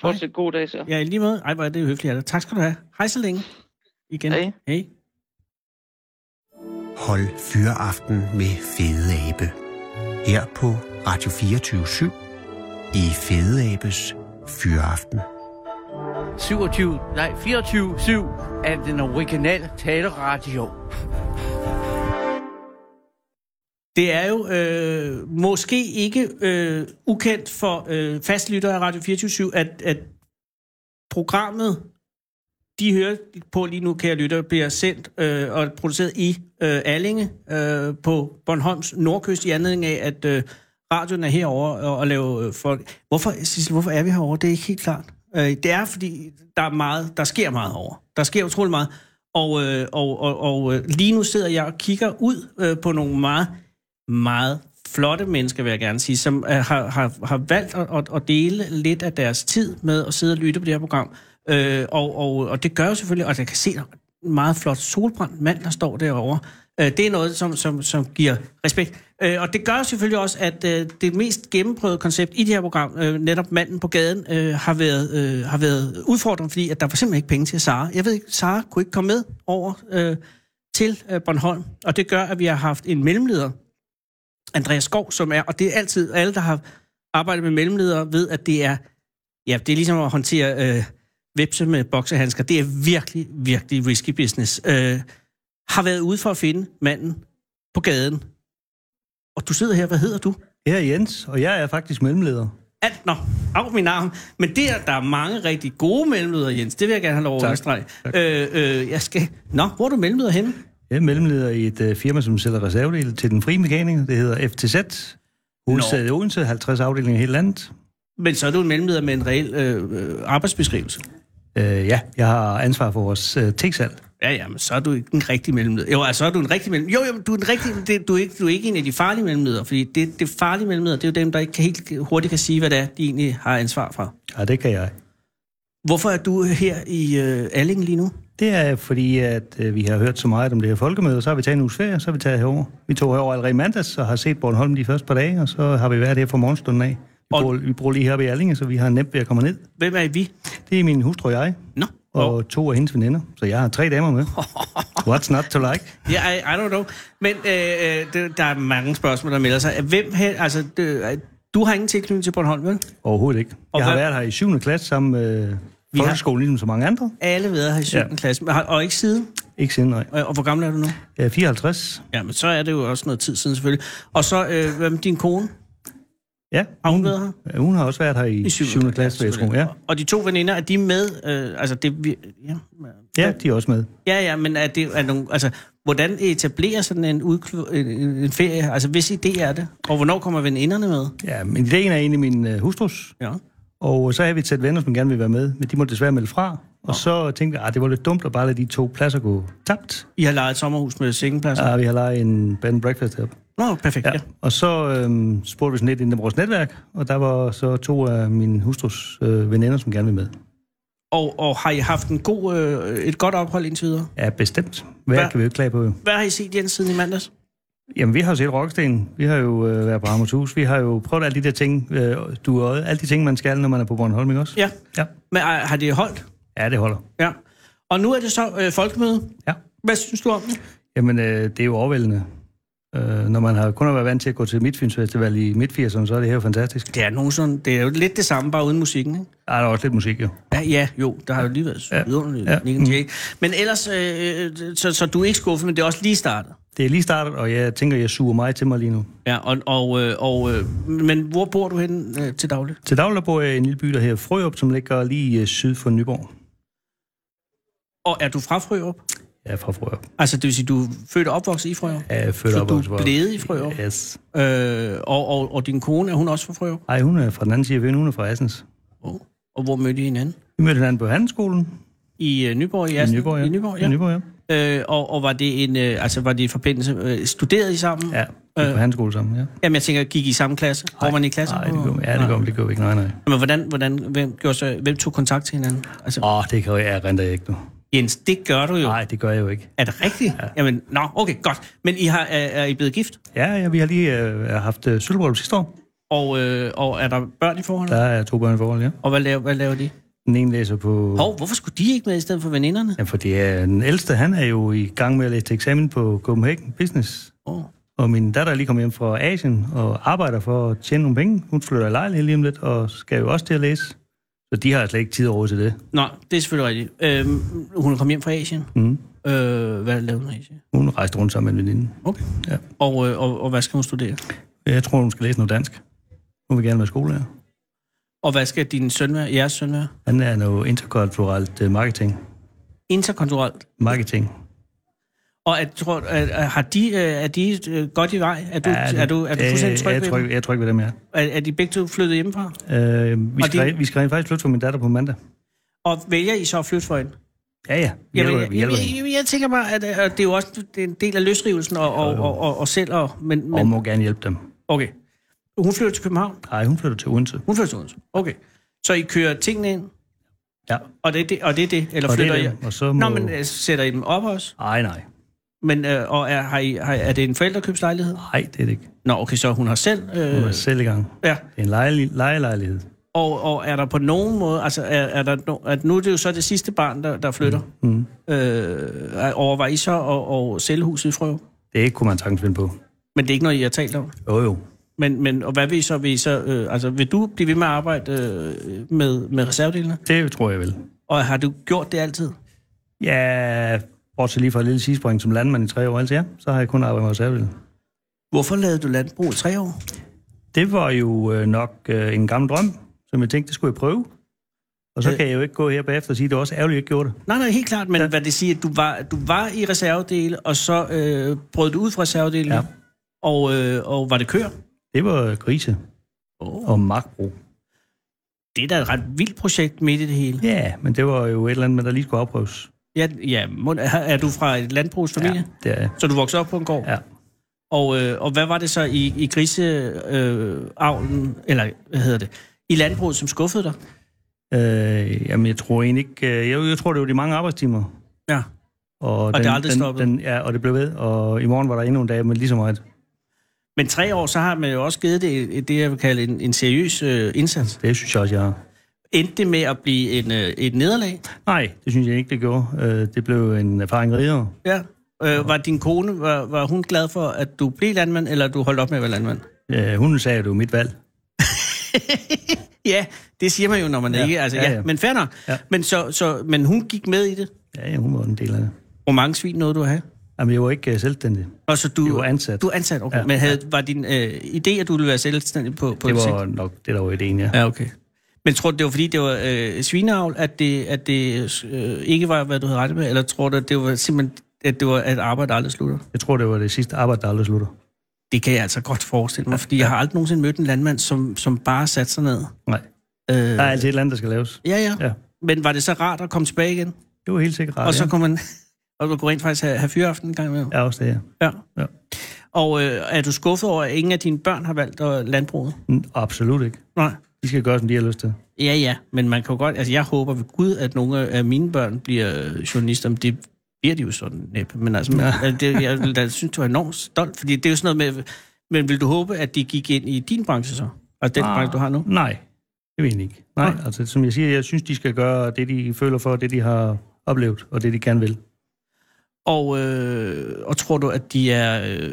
Speaker 8: Fortsæt god dag så.
Speaker 4: Ja, i lige måde. Ej, hvor er det høfligt af dig. Tak skal du have. Hej så længe. Igen.
Speaker 8: Hej.
Speaker 4: Hej.
Speaker 3: Hold fyreaften med Fede Abe. Her på Radio 24 i Fede Abes Fyreaften.
Speaker 9: 27, nej, 24-7 af den originale taleradio.
Speaker 4: Det er jo øh, måske ikke øh, ukendt for øh, fastlyttere af Radio 24 at, at programmet, de hører på lige nu, kære lytter, bliver sendt øh, og produceret i øh, Allinge øh, på Bornholms nordkyst i anledning af, at øh, radioen er herover og, og laver øh, folk. Hvorfor, Sissel, hvorfor er vi herover? Det er ikke helt klart. Øh, det er, fordi der, er meget, der sker meget over. Der sker utrolig meget. Og, øh, og, og, og øh, lige nu sidder jeg og kigger ud øh, på nogle meget meget flotte mennesker, vil jeg gerne sige, som øh, har, har, har valgt at, at, at dele lidt af deres tid med at sidde og lytte på det her program. Øh, og, og, og det gør jo selvfølgelig, og jeg kan se, der er en meget flot solbrændt mand, der står derovre. Øh, det er noget, som, som, som giver respekt. Øh, og det gør jo selvfølgelig også, at øh, det mest gennemprøvede koncept i det her program, øh, netop manden på gaden, øh, har, været, øh, har været udfordrende, fordi at der var simpelthen ikke penge til Sara. Jeg ved ikke, Sara kunne ikke komme med over øh, til øh, Bornholm, og det gør, at vi har haft en mellemleder, Andreas Skov, som er, og det er altid alle, der har arbejdet med mellemledere, ved, at det er Ja, det er ligesom at håndtere øh, vipse med boksehandsker. Det er virkelig, virkelig risky business. Øh, har været ude for at finde manden på gaden. Og du sidder her, hvad hedder du?
Speaker 10: Jeg er Jens, og jeg er faktisk mellemleder.
Speaker 4: Alt, nå, af min arm. Men det er, der er mange rigtig gode mellemledere, Jens. Det vil jeg gerne have lov at
Speaker 10: Tak.
Speaker 4: understrege.
Speaker 10: Tak.
Speaker 4: Øh, øh, jeg skal... Nå, hvor er du mellemleder henne?
Speaker 10: Jeg er mellemleder i et øh, firma, som sælger reservedele til den frie mekaniker. Det hedder FTZ. Hovedstaden i Odense, 50 afdelinger i hele landet.
Speaker 4: Men så er du en mellemleder med en reel øh, øh, arbejdsbeskrivelse.
Speaker 10: Øh, ja, jeg har ansvar for vores øh, teksal.
Speaker 4: Ja, ja, men så er du ikke en rigtig mellemleder. Jo, altså, så er du en rigtig mellemleder. Jo, jo, men du er en rigtig... Det, du, er ikke, du er ikke en af de farlige mellemledere, fordi det, det farlige mellemledere, det er jo dem, der ikke kan helt hurtigt kan sige, hvad det er, de egentlig har ansvar for.
Speaker 10: Ja, det kan jeg.
Speaker 4: Hvorfor er du her i øh, Alling lige nu?
Speaker 10: Det er fordi, at øh, vi har hørt så meget om det her folkemøde, og så har vi taget en uges ferie, og så har vi taget herover. Vi tog herover allerede i mandags og har set Bornholm de første par dage, og så har vi været her fra morgenstunden af. Vi,
Speaker 4: Og-
Speaker 10: bor, vi bor lige heroppe i Erlinge, så vi har nemt ved at komme ned.
Speaker 4: Hvem er vi?
Speaker 10: Det er min hustru og jeg,
Speaker 4: Nå.
Speaker 10: og
Speaker 4: Og...
Speaker 10: to af hendes veninder, så jeg har tre damer med. What's not to like?
Speaker 4: Ja, I, I don't know. Men øh, øh, det, der er mange spørgsmål, der melder sig. Hvem her, altså, det, øh, du har ingen tilknytning til Bornholm, vel?
Speaker 10: Overhovedet ikke.
Speaker 4: Og
Speaker 10: Jeg har
Speaker 4: hvad-
Speaker 10: været her i 7. klasse sammen med øh,
Speaker 4: har-
Speaker 10: folkeskolen, ligesom så mange andre.
Speaker 4: Alle ved her i 7. Ja.
Speaker 10: Ja.
Speaker 4: klasse, men har- og ikke siden.
Speaker 10: Ikke siden, nej.
Speaker 4: Og, og hvor gammel er du nu?
Speaker 10: Jeg er 54.
Speaker 4: Ja, men så er det jo også noget tid siden selvfølgelig. Og så, øh, hvad med din kone?
Speaker 10: Ja,
Speaker 4: Har hun været her?
Speaker 10: Ja, hun har også været her i,
Speaker 4: I
Speaker 10: 7.
Speaker 4: syvende
Speaker 10: klasse, klasse vil jeg tro.
Speaker 4: selvfølgelig.
Speaker 10: Ja.
Speaker 4: Og- Og de to veninder, er de med? Øh, altså det, vi- ja.
Speaker 10: ja, de er også med.
Speaker 4: ja, ja, men er det er nogle, altså, hvordan etablerer sådan en, udkl- en, en- en ferie? Altså, hvis idé er det? Og hvornår kommer veninderne med?
Speaker 10: Ja, men ideen er egentlig min øh, hustrus.
Speaker 4: Ja.
Speaker 10: Og så havde vi et sæt venner, som gerne ville være med, men de måtte desværre melde fra. Og så tænkte jeg, at det var lidt dumt at bare lade de to pladser gå tabt.
Speaker 4: I har lejet et sommerhus med sengepladser? Ja.
Speaker 10: Ja, vi har lejet en bed and breakfast heroppe.
Speaker 4: Nå, perfekt, ja. ja.
Speaker 10: Og så øhm, spurgte vi sådan lidt ind i vores netværk, og der var så to af min hustrus øh, veninder, som gerne ville med.
Speaker 4: Og, og har I haft en god, øh, et godt ophold indtil videre?
Speaker 10: Ja, bestemt. Hvad
Speaker 4: Hvad?
Speaker 10: kan vi jo ikke klage på? jo.
Speaker 4: Hvad har I set, Jens, siden i mandags?
Speaker 10: Jamen, vi har jo set Rocksten. Vi har jo øh, været på Hammershus. Vi har jo prøvet alle de der ting, øh, du og alle de ting, man skal, når man er på Bornholm, ikke også?
Speaker 4: Ja.
Speaker 10: Ja,
Speaker 4: Men øh, har det holdt?
Speaker 10: ja det holder.
Speaker 4: Ja. Og nu er det så øh, folkemøde.
Speaker 10: Ja.
Speaker 4: Hvad synes du om det?
Speaker 10: Jamen, øh, det er jo overvældende. Øh, når man har kun har været vant til at gå til Midtfyns Festival i midt-80'erne, så er det her jo fantastisk.
Speaker 4: Det er, nogen sådan, det er jo lidt det samme, bare uden musikken, ikke?
Speaker 10: Ej, der er også lidt musik, jo.
Speaker 4: Ja, ja, jo, der har jo lige været
Speaker 10: Ja.
Speaker 4: vidunderligt. Ja.
Speaker 10: Ja. Mm.
Speaker 4: Nick Jay. Men ellers, øh, øh, så, så du er ikke skuffet, men det er også lige startet.
Speaker 10: Det er lige startet, og jeg tænker, jeg suger mig til mig lige nu.
Speaker 4: Ja, og, og, øh, og øh, men hvor bor du hen øh, til daglig?
Speaker 10: Til daglig bor jeg i en lille by, der hedder Frøop, som ligger lige øh, syd for Nyborg.
Speaker 4: Og er du fra Frørup?
Speaker 10: Jeg er fra Frøop.
Speaker 4: Altså, det vil sige, du er født og opvokset i Frørup?
Speaker 10: Ja, Jeg er født
Speaker 4: Så
Speaker 10: og
Speaker 4: du
Speaker 10: opvokset
Speaker 4: er
Speaker 10: på-
Speaker 4: blevet i Frørup?
Speaker 10: Yes.
Speaker 4: Øh, og, og, og din kone, er hun også fra Frørup?
Speaker 10: Ej, hun er fra den anden side af Vinden, hun er fra Assens.
Speaker 4: Oh. Og hvor mødte I hinanden?
Speaker 10: Vi mødte hinanden på handelsskolen
Speaker 4: I øh, Nyborg, i
Speaker 10: i
Speaker 4: Asien?
Speaker 10: Nyborg, ja.
Speaker 4: I Nyborg, ja.
Speaker 10: I Nyborg, ja.
Speaker 4: Øh, og, og var det en, øh, altså var det i forbindelse, øh, studerede I sammen?
Speaker 10: Ja, vi er
Speaker 4: Øh.
Speaker 10: på handelsskole sammen, ja.
Speaker 4: Jamen, jeg tænker, gik I i samme klasse? Går man i klasse?
Speaker 10: Nej, det gør vi, ja, det gør, vi- det gør vi ikke. Nej, nej.
Speaker 4: Men hvordan, hvordan, hvem, gjorde så, hvem tog kontakt til hinanden? Altså,
Speaker 10: Åh, det kan jeg, jeg renter jeg ikke nu.
Speaker 4: Jens, det gør du jo.
Speaker 10: Nej, det gør jeg jo ikke.
Speaker 4: Er det rigtigt? Ja. Jamen, nå, okay, godt. Men I har, er, er I blevet gift?
Speaker 10: Ja, ja, vi har lige øh, haft øh, sølvbrød sidste år.
Speaker 4: Og, øh, og er der børn i forholdet?
Speaker 10: Der
Speaker 4: Ja.
Speaker 10: er to børn i forhold, ja.
Speaker 4: Og hvad laver, hvad laver de?
Speaker 10: Den ene læser på...
Speaker 4: Hov, hvorfor skulle de ikke med i stedet for veninderne?
Speaker 10: Ja, for det er den ældste, han er jo i gang med at læse til eksamen på Copenhagen Business.
Speaker 4: Oh.
Speaker 10: Og min datter er lige kommet hjem fra Asien og arbejder for at tjene nogle penge. Hun flytter i lejlighed lige om lidt og skal jo også til at læse. Så de har slet ikke tid over til det.
Speaker 4: Nå, det er selvfølgelig rigtigt. Øhm, hun kom hjem fra Asien.
Speaker 10: Mm.
Speaker 4: Øh, hvad lavede hun i Asien?
Speaker 10: Hun rejste rundt sammen med en veninde.
Speaker 4: Okay.
Speaker 10: Ja.
Speaker 4: Og, øh, og, og hvad skal hun studere?
Speaker 10: Jeg tror, hun skal læse noget dansk. Hun vil gerne være skolelærer.
Speaker 4: Og hvad skal din søn være, jeres søn være?
Speaker 10: Han er noget interkulturelt øh, marketing.
Speaker 4: Interkulturelt.
Speaker 10: Marketing.
Speaker 4: Og at, tror, at, at, har de, øh, er de øh, godt i vej? Er du, ja,
Speaker 10: det-
Speaker 4: er du, er du fuldstændig
Speaker 10: jeg,
Speaker 4: tryg
Speaker 10: jeg,
Speaker 4: ved dem?
Speaker 10: tryg, jeg er tryg ved dem, ja.
Speaker 4: Er, er de begge to flyttet hjemmefra?
Speaker 10: Øh, vi,
Speaker 4: Og
Speaker 10: skal,
Speaker 4: det-
Speaker 10: det... vi skal rent faktisk flytte for min datter på mandag.
Speaker 4: Og vælger I så at flytte for hende?
Speaker 10: Ja, ja. Vi
Speaker 4: Jamen,
Speaker 10: hjælper,
Speaker 4: jeg,
Speaker 10: vi hjælper
Speaker 4: jeg,
Speaker 10: hende.
Speaker 4: jeg, jeg tænker bare, at, at det er jo også det er en del af løsrivelsen og, og, og, og, og selv. Og, men,
Speaker 10: Og
Speaker 4: men,
Speaker 10: må gerne hjælpe dem.
Speaker 4: okay. Hun flytter til København.
Speaker 10: Nej, hun flytter til Odense.
Speaker 4: Hun flytter til Odense. Okay. Så I kører tingene ind,
Speaker 10: Ja.
Speaker 4: og det er det, og det, er det eller
Speaker 10: Og det
Speaker 4: flytter
Speaker 10: er
Speaker 4: I?
Speaker 10: dem, og så må...
Speaker 4: Nå, men øh, sætter I dem op også?
Speaker 10: Ej, nej.
Speaker 4: Men, øh, og er, har I, har, er det en forældrekøbslejlighed?
Speaker 10: Nej, det er det ikke.
Speaker 4: Nå, okay, så hun har selv...
Speaker 10: Hun
Speaker 4: Øh,
Speaker 10: er selv i gang.
Speaker 4: ja.
Speaker 10: Det er en leje- lejelejlighed.
Speaker 4: Og, og er der på nogen måde... Altså, er, er der no, at nu er det jo så det sidste barn, der, der flytter.
Speaker 10: Mm.
Speaker 4: Øh, overvejer I så at, at sælge huset i Frøv?
Speaker 10: Det kunne man sagtens finde på.
Speaker 4: Men det er ikke noget, I har talt om?
Speaker 10: Jo, jo.
Speaker 4: Men, men og hvad vil I så? Vil, I så øh, altså, vil du blive ved med at arbejde øh, med, med reservedelene?
Speaker 10: Det tror jeg vel.
Speaker 4: Og har du gjort det altid?
Speaker 10: Ja, bortset lige fra et lille sidespring som landmand i tre år, altså ja, så har jeg kun arbejdet med reservedelen.
Speaker 4: Hvorfor lavede du landbrug i tre år?
Speaker 10: Det var jo øh, nok øh, en gammel drøm, som jeg tænkte, det skulle jeg prøve. Og så
Speaker 4: Øh.
Speaker 10: kan jeg jo ikke gå her bagefter og sige, at det var også ærgerligt, at jeg ikke gjorde det.
Speaker 4: Nej, nej, helt klart, men ja. hvad det siger, at du var, du var i reservedele, og så øh, brød du ud fra reservedelene, ja.
Speaker 10: Ja.
Speaker 4: og, øh, og var det køer?
Speaker 10: Det var grise
Speaker 4: Oh.
Speaker 10: og magtbrug.
Speaker 4: Det er da et ret vildt projekt midt i det hele.
Speaker 10: Ja, men det var jo et eller andet, der lige skulle afprøves.
Speaker 4: Ja, ja må- er er du fra et landbrugsfamilie? Ja.
Speaker 10: det er jeg.
Speaker 4: Så du voksede op på en gård?
Speaker 10: Ja.
Speaker 4: Og, øh, og hvad var det så i, i griseavlen, øh, avlen, eller hvad hedder det, i landbruget, som skuffede dig?
Speaker 10: Øh, jamen, jeg tror egentlig ikke... Øh, jeg, jeg tror, det var de mange arbejdstimer.
Speaker 4: Ja.
Speaker 10: Og, og
Speaker 4: det er aldrig stoppet.
Speaker 10: Den, ja, og det blev ved. Og i morgen var der endnu en dag med lige så meget.
Speaker 4: Men tre år, så har man jo også givet det et- det, jeg vil kalde en, en seriøs øh, indsats.
Speaker 10: Det synes jeg også, jeg har.
Speaker 4: Endte det med at blive en, øh, et nederlag?
Speaker 10: Nej, det synes jeg ikke, det gjorde. Øh, det blev en erfaring rigere.
Speaker 4: Ja. Øh, var din kone, var, var hun glad for, at du blev landmand, eller du holdt op med at være landmand?
Speaker 10: Øh, hun sagde, at det var mit valg.
Speaker 4: Ja, det siger man jo, når man ja. ikke... Altså, ja, ja, ja. Men fair nok. Ja. Men, så, så, men hun gik med i det.
Speaker 10: Ja, ja, hun var en del af det.
Speaker 4: Hvor mange svin nåede du at have?
Speaker 10: Jamen, jeg var ikke øh, selvstændig.
Speaker 4: Og så du,
Speaker 10: Jeg var ansat.
Speaker 4: Du er ansat, okay. Ja,
Speaker 10: Ja,
Speaker 4: men havde, var din øh, idé, at du ville være selvstændig på, på
Speaker 10: Det
Speaker 4: sigt?
Speaker 10: var nok det, der var ideen, ja.
Speaker 4: Ja, okay. Men tror du, det var fordi, det var øh, svineavl, at det, at det øh, ikke var, hvad du havde rettet med? Eller tror du, at det var simpelthen, at det var at arbejde aldrig slutter?
Speaker 10: Jeg tror, det var det sidste arbejde, der aldrig slutter.
Speaker 4: Det kan jeg altså godt forestille mig, fordi jeg har aldrig nogensinde mødt en landmand, som, som bare satte sig ned.
Speaker 10: Nej,
Speaker 4: Øh,
Speaker 10: der er altid et eller andet, der skal laves.
Speaker 4: ja, ja, ja.
Speaker 10: Ja.
Speaker 4: Men var det så rart at komme tilbage igen?
Speaker 10: Det var helt sikkert rart,
Speaker 4: og så
Speaker 10: ja.
Speaker 4: kunne man... Og du kunne rent faktisk have, have fyreaften en gang imellem.
Speaker 10: Ja, også det, ja.
Speaker 4: Ja.
Speaker 10: Ja.
Speaker 4: Og øh, er du skuffet over, at ingen af dine børn har valgt øh, landbruget?
Speaker 10: Mm, Absolut ikke.
Speaker 4: Nej.
Speaker 10: De skal gøre, som de har lyst til.
Speaker 4: Ja, ja, men man kan jo godt... Altså, jeg håber ved Gud, at nogle af mine børn bliver øh, journalister, men det bliver de jo sådan næppe. Men altså, ja. altså det, jeg vil da synes, du er enormt stolt, fordi det er jo sådan noget med... Men vil du håbe, at de gik ind i din branche så? Og den ah. branche, du har nu?
Speaker 10: Nej, det vil jeg ikke. Nej, altså som jeg siger, jeg synes, de skal gøre det, de føler for, det, de har oplevet, og det, de gerne vil.
Speaker 4: Og, øh, og tror du, at de er, øh,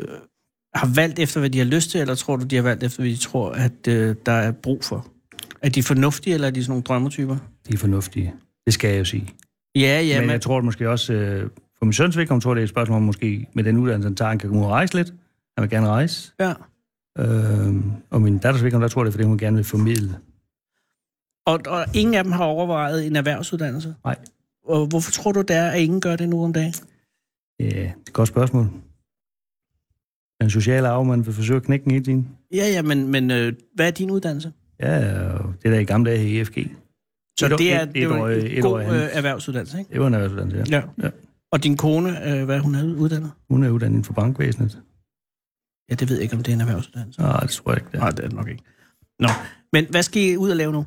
Speaker 4: har valgt efter, hvad de har lyst til, eller tror du, de har valgt efter, hvad de tror, at øh, der er brug for? Er de fornuftige, eller er de sådan nogle drømmetyper?
Speaker 10: De er fornuftige. Det skal jeg jo sige.
Speaker 4: Ja, ja,
Speaker 10: Ja,
Speaker 4: men...
Speaker 10: men jeg tror det måske også, øh, for min søns vedkommende, tror jeg, det er et spørgsmål om måske, med den uddannelse, han tager, han kan komme ud og rejse lidt. Han vil gerne rejse.
Speaker 4: Ja.
Speaker 10: Øh, og min datters vedkommende, der tror jeg, det er, fordi hun gerne vil formidle.
Speaker 4: Og, og ingen af dem har overvejet en erhvervsuddannelse?
Speaker 10: Nej.
Speaker 4: Og hvorfor tror du, det er, at ingen gør det nu om dagen?
Speaker 10: Ja, det er et godt spørgsmål. Den sociale arv, man vil forsøge at knække den hele tiden.
Speaker 4: Ja, ja, men, men øh, hvad er din uddannelse?
Speaker 10: Ja, og det der i gamle dage i E EFG.
Speaker 4: Så
Speaker 10: Et år-
Speaker 4: det er,
Speaker 10: et- et
Speaker 4: det er jo
Speaker 10: år-
Speaker 4: en
Speaker 10: et
Speaker 4: god
Speaker 10: år i hans.
Speaker 4: øh, erhvervsuddannelse, ikke?
Speaker 10: Det var en erhvervsuddannelse, ja.
Speaker 4: Ja. Og din kone, øh, hvad er hun havde uddannet?
Speaker 10: Hun er uddannet inden for bankvæsenet.
Speaker 4: Ja, det ved jeg ikke, om det er en erhvervsuddannelse.
Speaker 10: Nej, det tror jeg ikke, det er.
Speaker 4: Nej, det er det nok ikke. Nå, men hvad skal I ud og lave nu?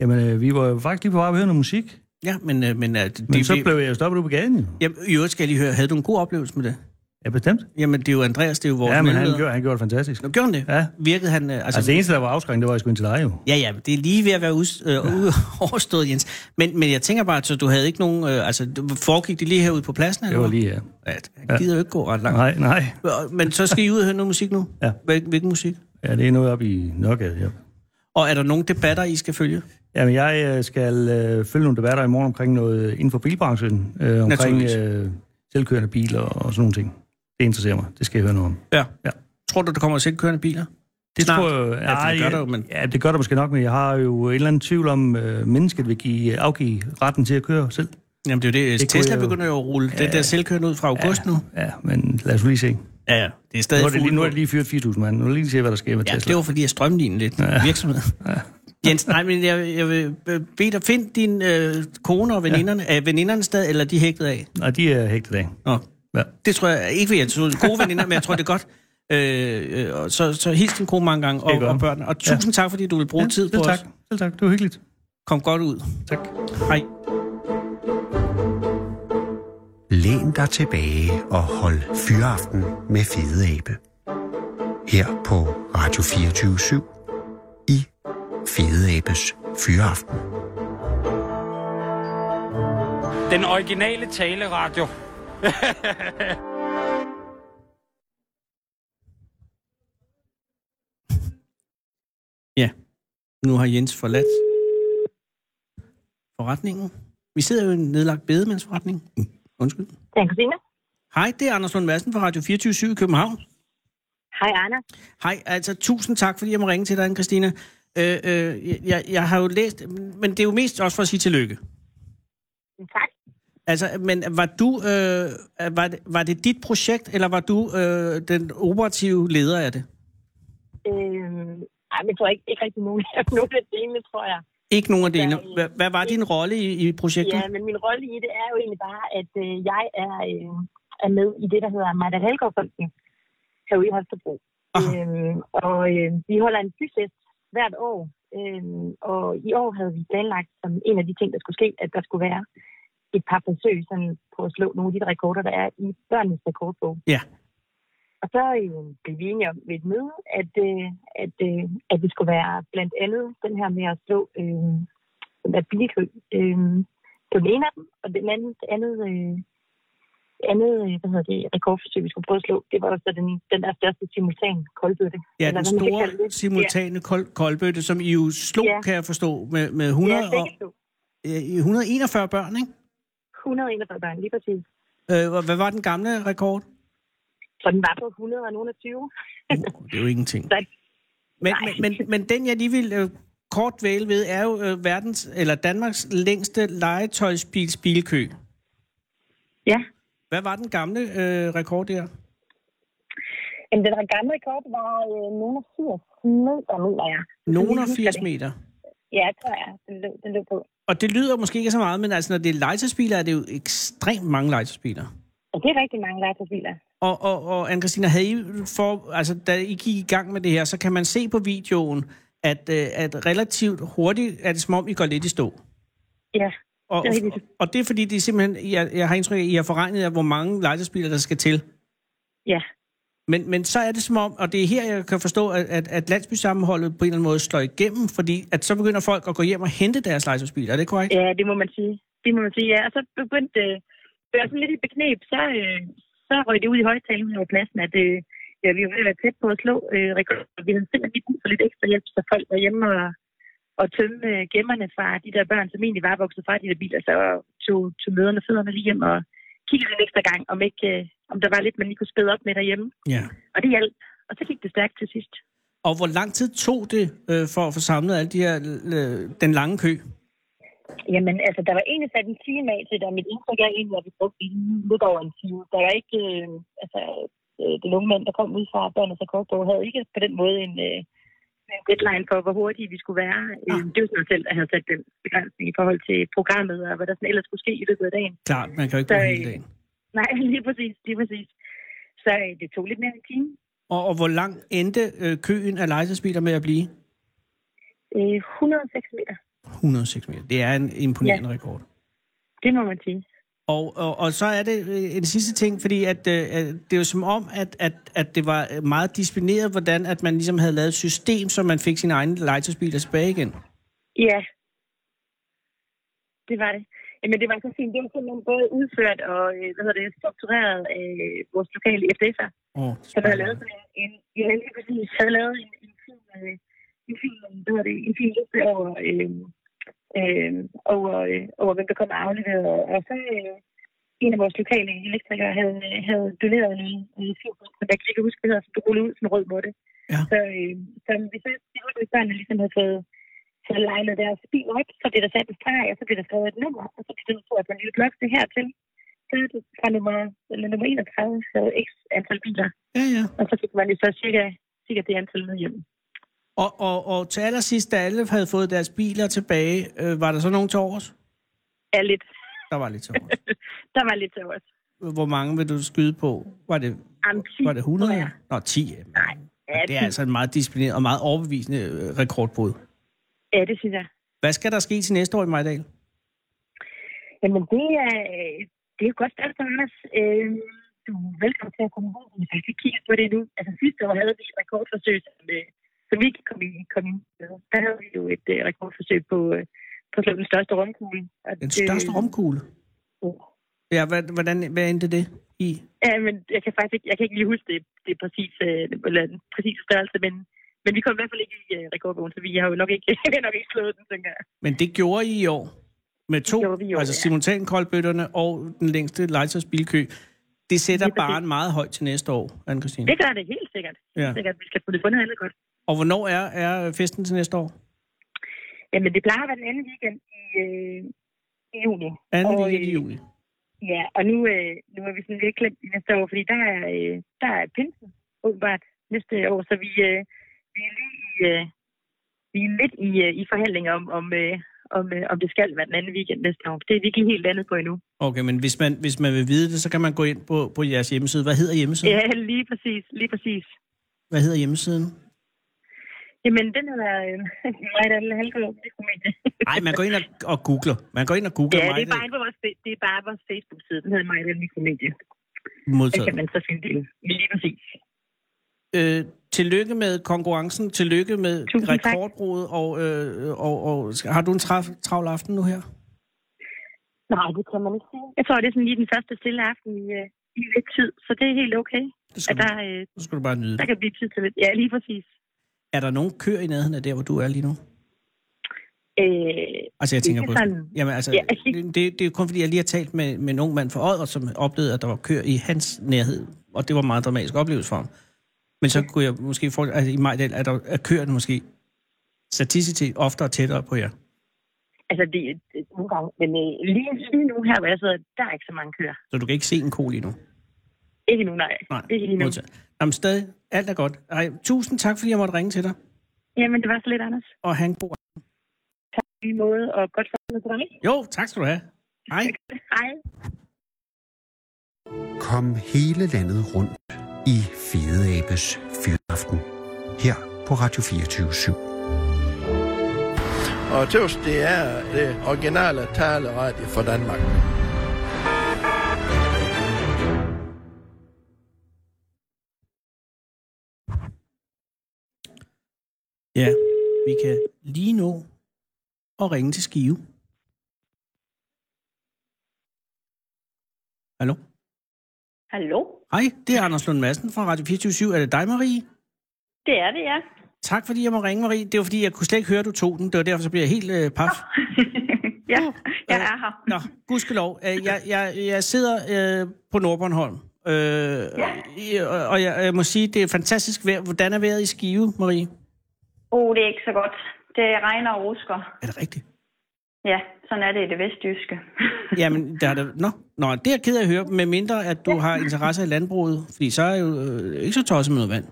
Speaker 10: Jamen, øh, vi var jo faktisk lige på vej at høre noget musik,
Speaker 4: Ja, men, øh, men, øh, det,
Speaker 10: men
Speaker 4: det,
Speaker 10: så
Speaker 4: vi-
Speaker 10: blev jeg jo stoppet ude på gaden. jo.
Speaker 4: Jamen, i øvrigt skal jeg lige høre, havde du en god oplevelse med det?
Speaker 10: Ja, bestemt.
Speaker 4: Jamen, det er jo Andreas, det er jo vores
Speaker 10: Ja, men han
Speaker 4: mellemleder.
Speaker 10: gjorde, han gjorde det fantastisk.
Speaker 4: Nå, gjorde han det?
Speaker 10: Ja.
Speaker 4: Virkede han... øh, Altså,
Speaker 10: Altså, det eneste, der var afskrækket, det var, at jeg skulle ind til dig jo.
Speaker 4: Ja, ja, men det er lige ved at være ud, øh, ude- overstået, Jens. Men, men jeg tænker bare, så du havde ikke nogen... Øh, altså, du- foregik det lige herude på pladsen?
Speaker 10: Det
Speaker 4: Eller
Speaker 10: var
Speaker 4: hvad?
Speaker 10: lige her.
Speaker 4: Ja, han gider jo ikke gå ret langt.
Speaker 10: Nej, nej.
Speaker 4: Og- Men så skal I ud og høre noget musik nu?
Speaker 10: Ja.
Speaker 4: Hvil, hvilken musik?
Speaker 10: Ja, det er noget op i Nørregade, ja.
Speaker 4: Og er der nogle debatter, I skal følge?
Speaker 10: Jamen, jeg øh, skal øh, følge nogle debatter i morgen omkring noget øh, inden for bilbranchen. Øh, omkring
Speaker 4: Naturligvis.
Speaker 10: øh, selvkørende biler og sådan nogle ting. Det interesserer mig. Det skal jeg høre noget om.
Speaker 4: Ja.
Speaker 10: Ja.
Speaker 4: Tror du, der kommer selvkørende biler?
Speaker 10: Det
Speaker 4: Snart.
Speaker 10: tror jeg...
Speaker 4: Ja, for det gør
Speaker 10: ja,
Speaker 4: der jo, men-
Speaker 10: ja, det gør der måske nok, men jeg har jo en eller anden tvivl om, øh, mennesket vil give, afgive retten til at køre selv.
Speaker 4: Jamen, det er jo det. det
Speaker 10: Det kunne
Speaker 4: Tesla
Speaker 10: jeg jo-
Speaker 4: begynder jo at rulle ja. det der selvkørende ud fra august ja. nu.
Speaker 10: Ja, men lad os lige se.
Speaker 4: Ja, ja. Det er stadig
Speaker 10: Nu er det lige,
Speaker 4: fugle
Speaker 10: nu er
Speaker 4: på.
Speaker 10: det lige fyret 4.000 mand. Nu vil jeg lige se, hvad der sker med
Speaker 4: Ja,
Speaker 10: Tesla.
Speaker 4: det var fordi, jeg strømlignede lidt ja. virksomheden. Ja. Jens, nej, men jeg, jeg vil øh, bede dig, find din øh, kone og veninderne. Ja. Er veninderne stadig, eller er de hægtet af?
Speaker 10: Og de er hægtet af.
Speaker 4: Nå.
Speaker 10: Ja.
Speaker 4: Det tror jeg ikke, fordi jeg tror, det er gode veninder, men jeg tror, det er godt. Øh, øh, og så, så hils din kone mange gange
Speaker 10: Det
Speaker 4: og,
Speaker 10: gør jeg.
Speaker 4: og børnene. Og tusind ja. tak, fordi du vil bruge ja, tid på
Speaker 10: Selv
Speaker 4: os.
Speaker 10: tak. Selv tak. Det var hyggeligt.
Speaker 4: Kom godt ud.
Speaker 10: Tak.
Speaker 4: Hej.
Speaker 3: Læn dig tilbage og hold fyraften med Fede Abe. Her på Radio 24 i Fede Abes Fyraften.
Speaker 11: Den originale taleradio.
Speaker 4: Nu har Jens forladt forretningen. Vi sidder jo i en nedlagt bedemandsforretning. Undskyld.
Speaker 8: Det er Christina.
Speaker 4: Hej, det er Anders Lund Madsen fra Radio 24 i København.
Speaker 8: Hej, Anders.
Speaker 4: Hej, altså tusind tak, fordi jeg må ringe til dig, Anne Christina. Øh, øh, jeg, jeg har jo læst, men det er jo mest også for at sige tillykke.
Speaker 8: Mm, Tak.
Speaker 4: Altså, men var du, øh, var, det, var det dit projekt, eller var du øh, den operative leder af det?
Speaker 8: Øh, ej, men jeg tror ikke, ikke rigtig nogen af nogen af delene, tror jeg.
Speaker 4: Ikke nogen af delene. Hva- Hvad var din rolle i, i projektet?
Speaker 8: Ja, men min rolle i det er jo egentlig bare, at øh, jeg er, øh, er med i det, der hedder Marta Helgaard-fonden herude i Holstebro. Øhm, og øh, vi holder en byfest hvert år, øhm, og i år havde vi planlagt som en af de ting, der skulle ske, at der skulle være et par forsøg sådan, på at slå nogle af de rekorder, der er i børnenes rekordbog.
Speaker 4: Ja.
Speaker 8: Og så øh, blev vi enige om ved et møde, at, øh, at, øh, at det skulle være blandt andet den her med at slå øh, den der bilkø øh, på den ene af dem, og den anden, det andet, øh, det andet øh, hvad hedder det, rekordforsøg, vi skulle prøve at slå, det var jo så den, den der største simultan koldbøtte.
Speaker 4: Ja,
Speaker 8: Eller
Speaker 4: den
Speaker 8: hvad man kan kalde
Speaker 4: store
Speaker 8: det.
Speaker 4: simultane kol- koldbøtte, som I jo slog,
Speaker 8: Ja.
Speaker 4: kan jeg forstå, med, med
Speaker 8: Ja,
Speaker 4: 100
Speaker 8: ja
Speaker 4: og,
Speaker 8: begge
Speaker 4: øh,
Speaker 8: to.
Speaker 4: 141 børn, ikke?
Speaker 8: 141 børn, lige præcis.
Speaker 4: Øh, og hvad var den gamle rekord? Uh,
Speaker 8: Så den var på 100 og nogle og 20.
Speaker 4: Det er jo ingenting.
Speaker 8: Så-
Speaker 4: Men, men, men, men den, jeg lige vil øh, kort væle ved, er jo øh, verdens, eller Danmarks længste legetøjsbils bilkø.
Speaker 8: Ja.
Speaker 4: Hvad var den gamle øh, rekord der?
Speaker 8: Jamen, den her gamle rekord var øh, nogle 80 meter, mener jeg.
Speaker 4: Nogen
Speaker 8: Jeg
Speaker 4: af
Speaker 8: husker
Speaker 4: 80
Speaker 8: det.
Speaker 4: meter.
Speaker 8: Ja, tror jeg. Den løb, den løb på.
Speaker 4: Og det lyder måske ikke så meget, men altså, når det er legetøjsbiler, er det jo ekstremt mange legetøjsbiler.
Speaker 8: Og det er rigtig mange legetøjsbiler.
Speaker 4: Og, og, og Anne-Christina, havde I for, altså, da I gik i gang med det her, så kan man se på videoen, at, øh, at relativt hurtigt er det som om, I går lidt i stå.
Speaker 8: Ja,
Speaker 4: Og,
Speaker 8: det er
Speaker 4: og,
Speaker 8: rigtigt.
Speaker 4: og det er fordi, det er simpelthen, jeg, jeg har indtryk af, at I har forregnet jer, hvor mange legetøjsbiler, der skal til.
Speaker 8: Ja.
Speaker 4: Men, men så er det som om, og det er her, jeg kan forstå, at, at, at landsbysammenholdet på en eller anden måde slår igennem, fordi at så begynder folk at gå hjem og hente deres legetøjsbiler. Er det korrekt?
Speaker 8: Ja, det må man sige. Det må man sige, ja. Og så begyndte øh, det var sådan lidt i beknep, så, øh, så røg det ud i højtalen over pladsen, at øh, ja, vi var ved at være tæt på at slå øh, rekorder. Vi havde simpelthen lige brug for lidt ekstra hjælp, så folk var hjemme og, og tømme øh, gemmerne fra de der børn, som egentlig var vokset fra de der biler, så tog, tog møderne fødderne lige hjem og kiggede en ekstra gang, om, ikke, øh, om der var lidt, man lige kunne spæde op med derhjemme.
Speaker 4: Ja.
Speaker 8: Og det hjalp. Og så gik det stærkt til sidst.
Speaker 4: Og hvor lang tid tog det øh, for at få samlet alle de her, øh, den lange kø?
Speaker 8: Jamen, altså, der var egentlig sat en time af til det, og mit indtryk er egentlig, at vi brugte lidt over en time. Der var ikke, øh, altså, øh, den unge mand, der kom ud fra børnene fra Kortborg, havde ikke på den måde en, øh, en deadline for, hvor hurtige vi skulle være. Ah. Det var sådan mig selv, der havde sat den begrænsning i forhold til programmet, og hvad der sådan ellers skulle ske i løbet af dagen.
Speaker 4: Klart, man kan jo ikke bruge
Speaker 8: Så,
Speaker 4: hele
Speaker 8: øh,
Speaker 4: dagen.
Speaker 8: Nej, lige præcis, lige præcis. Så øh, det tog lidt mere end en time.
Speaker 4: Og, og hvor lang endte øh, køen af legetøjsbiler med at blive?
Speaker 8: Øh, 106 meter,
Speaker 4: 106 meter. Det er en imponerende ja. rekord.
Speaker 8: det må man sige.
Speaker 4: Og, og, og så er det øh, en sidste ting, fordi at, øh, at det er jo som om, at, at, at det var øh, meget disciplineret, hvordan at man ligesom havde lavet et system, så man fik sine egne legetøjsbiler tilbage igen.
Speaker 8: Ja. Det var det. Jamen, det var så fint. Det var simpelthen både udført og øh, hvad hedder det, struktureret af vores lokale FDF'er,
Speaker 4: Oh,
Speaker 8: som havde lavet sådan en- en, vi havde lige præcis havde lavet en, en fin, øh, en fin, hvad hedder det, en fin liste over, øh, øh, over, øh, over, hvem der kom og afleverede. Og så øh, en af vores lokale elektrikere havde, øh, havde doneret en, en fin, som jeg kan ikke huske, hvad hedder, som du rullede ud som en rød måtte.
Speaker 4: Ja.
Speaker 8: Så, øh, så vi så, det var, at børnene ligesom havde fået havde legnet deres bil op, så blev der sat en streg, og så blev der skrevet et nummer, og så blev der skrevet på en lille blok, det hertil. Så er det fra nummer, eller nummer 31, så x antal biler.
Speaker 4: Ja, ja.
Speaker 8: Og så fik man jo så cirka, cirka det antal med hjem.
Speaker 4: Og, og, og til allersidst, da alle havde fået deres biler tilbage, øh, var der så nogen til overs?
Speaker 8: Ja, lidt.
Speaker 4: Der var lidt til overs.
Speaker 8: Der var lidt til os.
Speaker 4: Hvor mange vil du skyde på? Var det,
Speaker 8: Jamen, 10,
Speaker 4: var det 100?
Speaker 8: tror jeg.
Speaker 4: Nå, 10. jamen.
Speaker 8: Ja,
Speaker 4: Det er altså en meget disciplineret og meget overbevisende øh, rekordbrud.
Speaker 8: ja, det synes jeg.
Speaker 4: Hvad skal der ske til næste år i Majdal?
Speaker 8: Jamen, det er, det er jo godt spørgsmål, Anders. Øh, du er velkommen til at komme ud, hvis jeg ikke kigger på det nu. Altså, sidste år havde vi et rekordforsøg, som, øh, som vi ikke kom, i, kom ind med. Der havde vi jo et øh, rekordforsøg på, øh, på at slå den største rumkugle. Og
Speaker 4: Den største rumkugle? Ja, hvad, hvordan, hvad endte det i?
Speaker 8: Ja, men jeg kan faktisk ikke, jeg kan ikke lige huske det, det præcise, øh, eller den præcise størrelse, men,
Speaker 12: Men vi kom i hvert fald ikke i øh, rekordbogen, så vi har jo nok ikke, vi har nok ikke slået den, tænker jeg.
Speaker 4: Men det gjorde I i år. Med to,
Speaker 12: gjorde vi i år,
Speaker 4: altså
Speaker 12: ja.
Speaker 4: simultankoldbøtterne og den længste legetøjsbilkø. Det sætter barn meget højt til næste år, anne Christine.
Speaker 12: Det gør det helt sikkert.
Speaker 4: Ja.
Speaker 12: Helt sikkert, vi skal få det fundet alle godt.
Speaker 4: Og hvornår er, er festen til næste år?
Speaker 12: Jamen, det plejer at være den anden weekend i, øh, i juni.
Speaker 4: Anden
Speaker 12: Og,
Speaker 4: weekend i
Speaker 12: øh,
Speaker 4: juni.
Speaker 12: Ja, og nu, øh, nu er vi sådan lidt klemt i næste år, fordi der er, øh, der er pinsen åbenbart næste år, så vi, øh, vi er lige i, øh, vi er lidt i, øh, i forhandlinger om, om, øh, om, øh, om det skal være den anden weekend næste år. Det er vi ikke helt andet på endnu.
Speaker 4: Okay, men hvis man, hvis man vil vide det, så kan man gå ind på, på jeres hjemmeside. Hvad hedder hjemmesiden?
Speaker 12: Ja, lige præcis, lige præcis.
Speaker 4: Hvad hedder hjemmesiden?
Speaker 12: Jamen, den er øh, meget af halvgård, det kunne man
Speaker 4: Nej, man går ind og, og googler. Man går ind og googler
Speaker 12: Ja,
Speaker 4: mig.
Speaker 12: det er bare inde på vores, fe- det er bare vores Facebook-side. Den hedder Majdal Mikromedie. Det
Speaker 4: modtaget.
Speaker 12: kan man så finde det. Lige præcis.
Speaker 4: Øh, tillykke med konkurrencen. Tillykke med Tusind rekordbruddet. Og, øh, og, og, skal- har du en traf, travl aften nu her?
Speaker 12: Nej, det kan man ikke sige. Jeg tror, det er sådan lige den første stille aften i, øh, i lidt tid, så det er helt okay. At der, øh,
Speaker 4: Så skal du bare nyde
Speaker 12: der
Speaker 4: det.
Speaker 12: kan blive tid til lidt. Ja, lige præcis.
Speaker 4: Er der nogen køer i nærheden af der, hvor du er lige nu?
Speaker 12: Øh,
Speaker 4: Altså, jeg tænker
Speaker 12: ikke
Speaker 4: på...
Speaker 12: sådan-
Speaker 4: Jamen, altså,
Speaker 12: Ja.
Speaker 4: det, det er jo kun fordi, jeg lige har talt med, med en ung mand fra Odder, som oplevede, at der var køer i hans nærhed, og det var en meget dramatisk oplevelse for ham. Men så kunne jeg måske få... Altså, i Majdal er, der, er køerne måske statistisk oftere tættere på jer.
Speaker 12: Altså, det er det er nogle gange. Men øh, lige, lige nu her, hvor jeg sidder, der er ikke så mange køer.
Speaker 4: Så du kan ikke se en ko lige nu.
Speaker 12: Ikke nu, nej.
Speaker 4: Nej,
Speaker 12: ikke lige nu.
Speaker 4: modtaget. Jamen stadig, alt er godt. Ej, tusind tak, fordi jeg måtte ringe til dig.
Speaker 12: Jamen, det var så lidt, Anders.
Speaker 4: Og han bor.
Speaker 12: På lige måde, og godt sammen til dig.
Speaker 4: Jo, tak skal du have. Hej.
Speaker 12: Hej.
Speaker 13: Kom hele landet rundt i Fede Abes Fyraften. Her på Radio 24 7.
Speaker 5: Og tøvs, det er det originale taleradio for Danmark.
Speaker 4: Ja, vi kan lige nå og ringe til Skive. Hallo?
Speaker 8: Hallo?
Speaker 4: Hej, det er Anders Lund Madsen fra Radio 24 Er det dig, Marie?
Speaker 8: Det er det, ja.
Speaker 4: Tak, fordi jeg må ringe, Marie. Det var, fordi jeg kunne slet ikke høre, du tog den. Det var derfor, så bliver jeg helt øh, paf.
Speaker 8: Ja, jeg er her.
Speaker 4: Nå, gudskelov. Øh, Jeg, jeg, jeg sidder øh, på Nordbornholm, øh, ja. og jeg, jeg må sige, det er fantastisk vejr. Hvordan er vejret i Skive, Marie?
Speaker 8: Oh, det er ikke så godt. Det regner og rusker.
Speaker 4: Er det rigtigt?
Speaker 8: Ja, sådan er det i det vestjyske.
Speaker 4: Jamen, der er der... Nå, nå, det er jeg ked af at høre, med mindre at du har interesse i landbruget, fordi så er jeg jo øh, ikke så tosset med noget vand.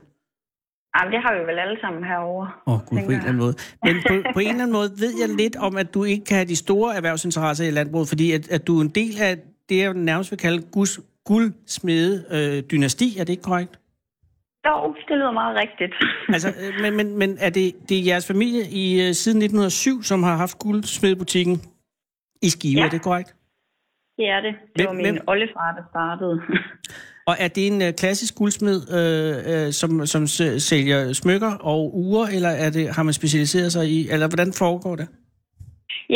Speaker 8: Jamen, det har vi vel alle sammen herovre.
Speaker 4: Åh, oh, gud, på en eller anden måde. Men på, på en eller anden måde ved jeg lidt om, at du ikke kan have de store erhvervsinteresser i landbruget, fordi at, at du er en del af det, jeg nærmest vil kalde gus, guldsmede øh, dynasti, er det ikke korrekt?
Speaker 8: Jo, det lyder meget rigtigt.
Speaker 4: Altså, øh, men, men, men er det, det er jeres familie i, øh, siden 1907, som har haft guldsmedebutikken i Skive, ja.
Speaker 8: Ja.
Speaker 4: er det korrekt?
Speaker 8: Det er det. Det
Speaker 4: Hvem-
Speaker 8: var
Speaker 4: hvem-
Speaker 8: min oldefar, der startede.
Speaker 4: Og er det en øh, klassisk guldsmed, øh, øh, som, som s- sælger smykker og uger, eller er det, har man specialiseret sig i, eller hvordan foregår det?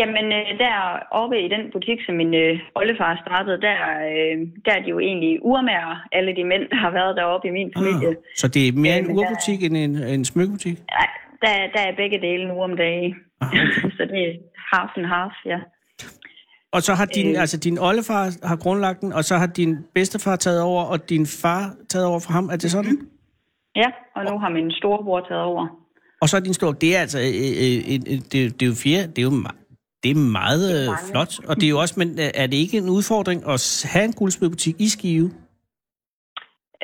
Speaker 8: Jamen, øh, deroppe i den butik, som min øh, oldefar startede, der, øh, der er de jo egentlig urmager, alle de mænd, der har været deroppe i min familie.
Speaker 4: Ah, så det er mere
Speaker 8: Ja,
Speaker 4: en
Speaker 8: men der-
Speaker 4: urbutik end en, en smykkebutik?
Speaker 8: Der, der er begge dele nu om dagen.
Speaker 4: Ah,
Speaker 8: så det er half and half, ja.
Speaker 4: Og så har din, øh. altså din oldefar har grundlagt den, og så har din bedstefar taget over, og din far taget over fra ham. Er det sådan?
Speaker 8: Ja, og nu har min storebror taget over.
Speaker 4: Og så er din stor... Det er altså... Øh, øh, øh, øh, det, det er jo fjerde... Det er jo me- det er meget øh, flot, og det er jo også, men øh, er det ikke en udfordring at s- have en guldsmedbutik i Skive?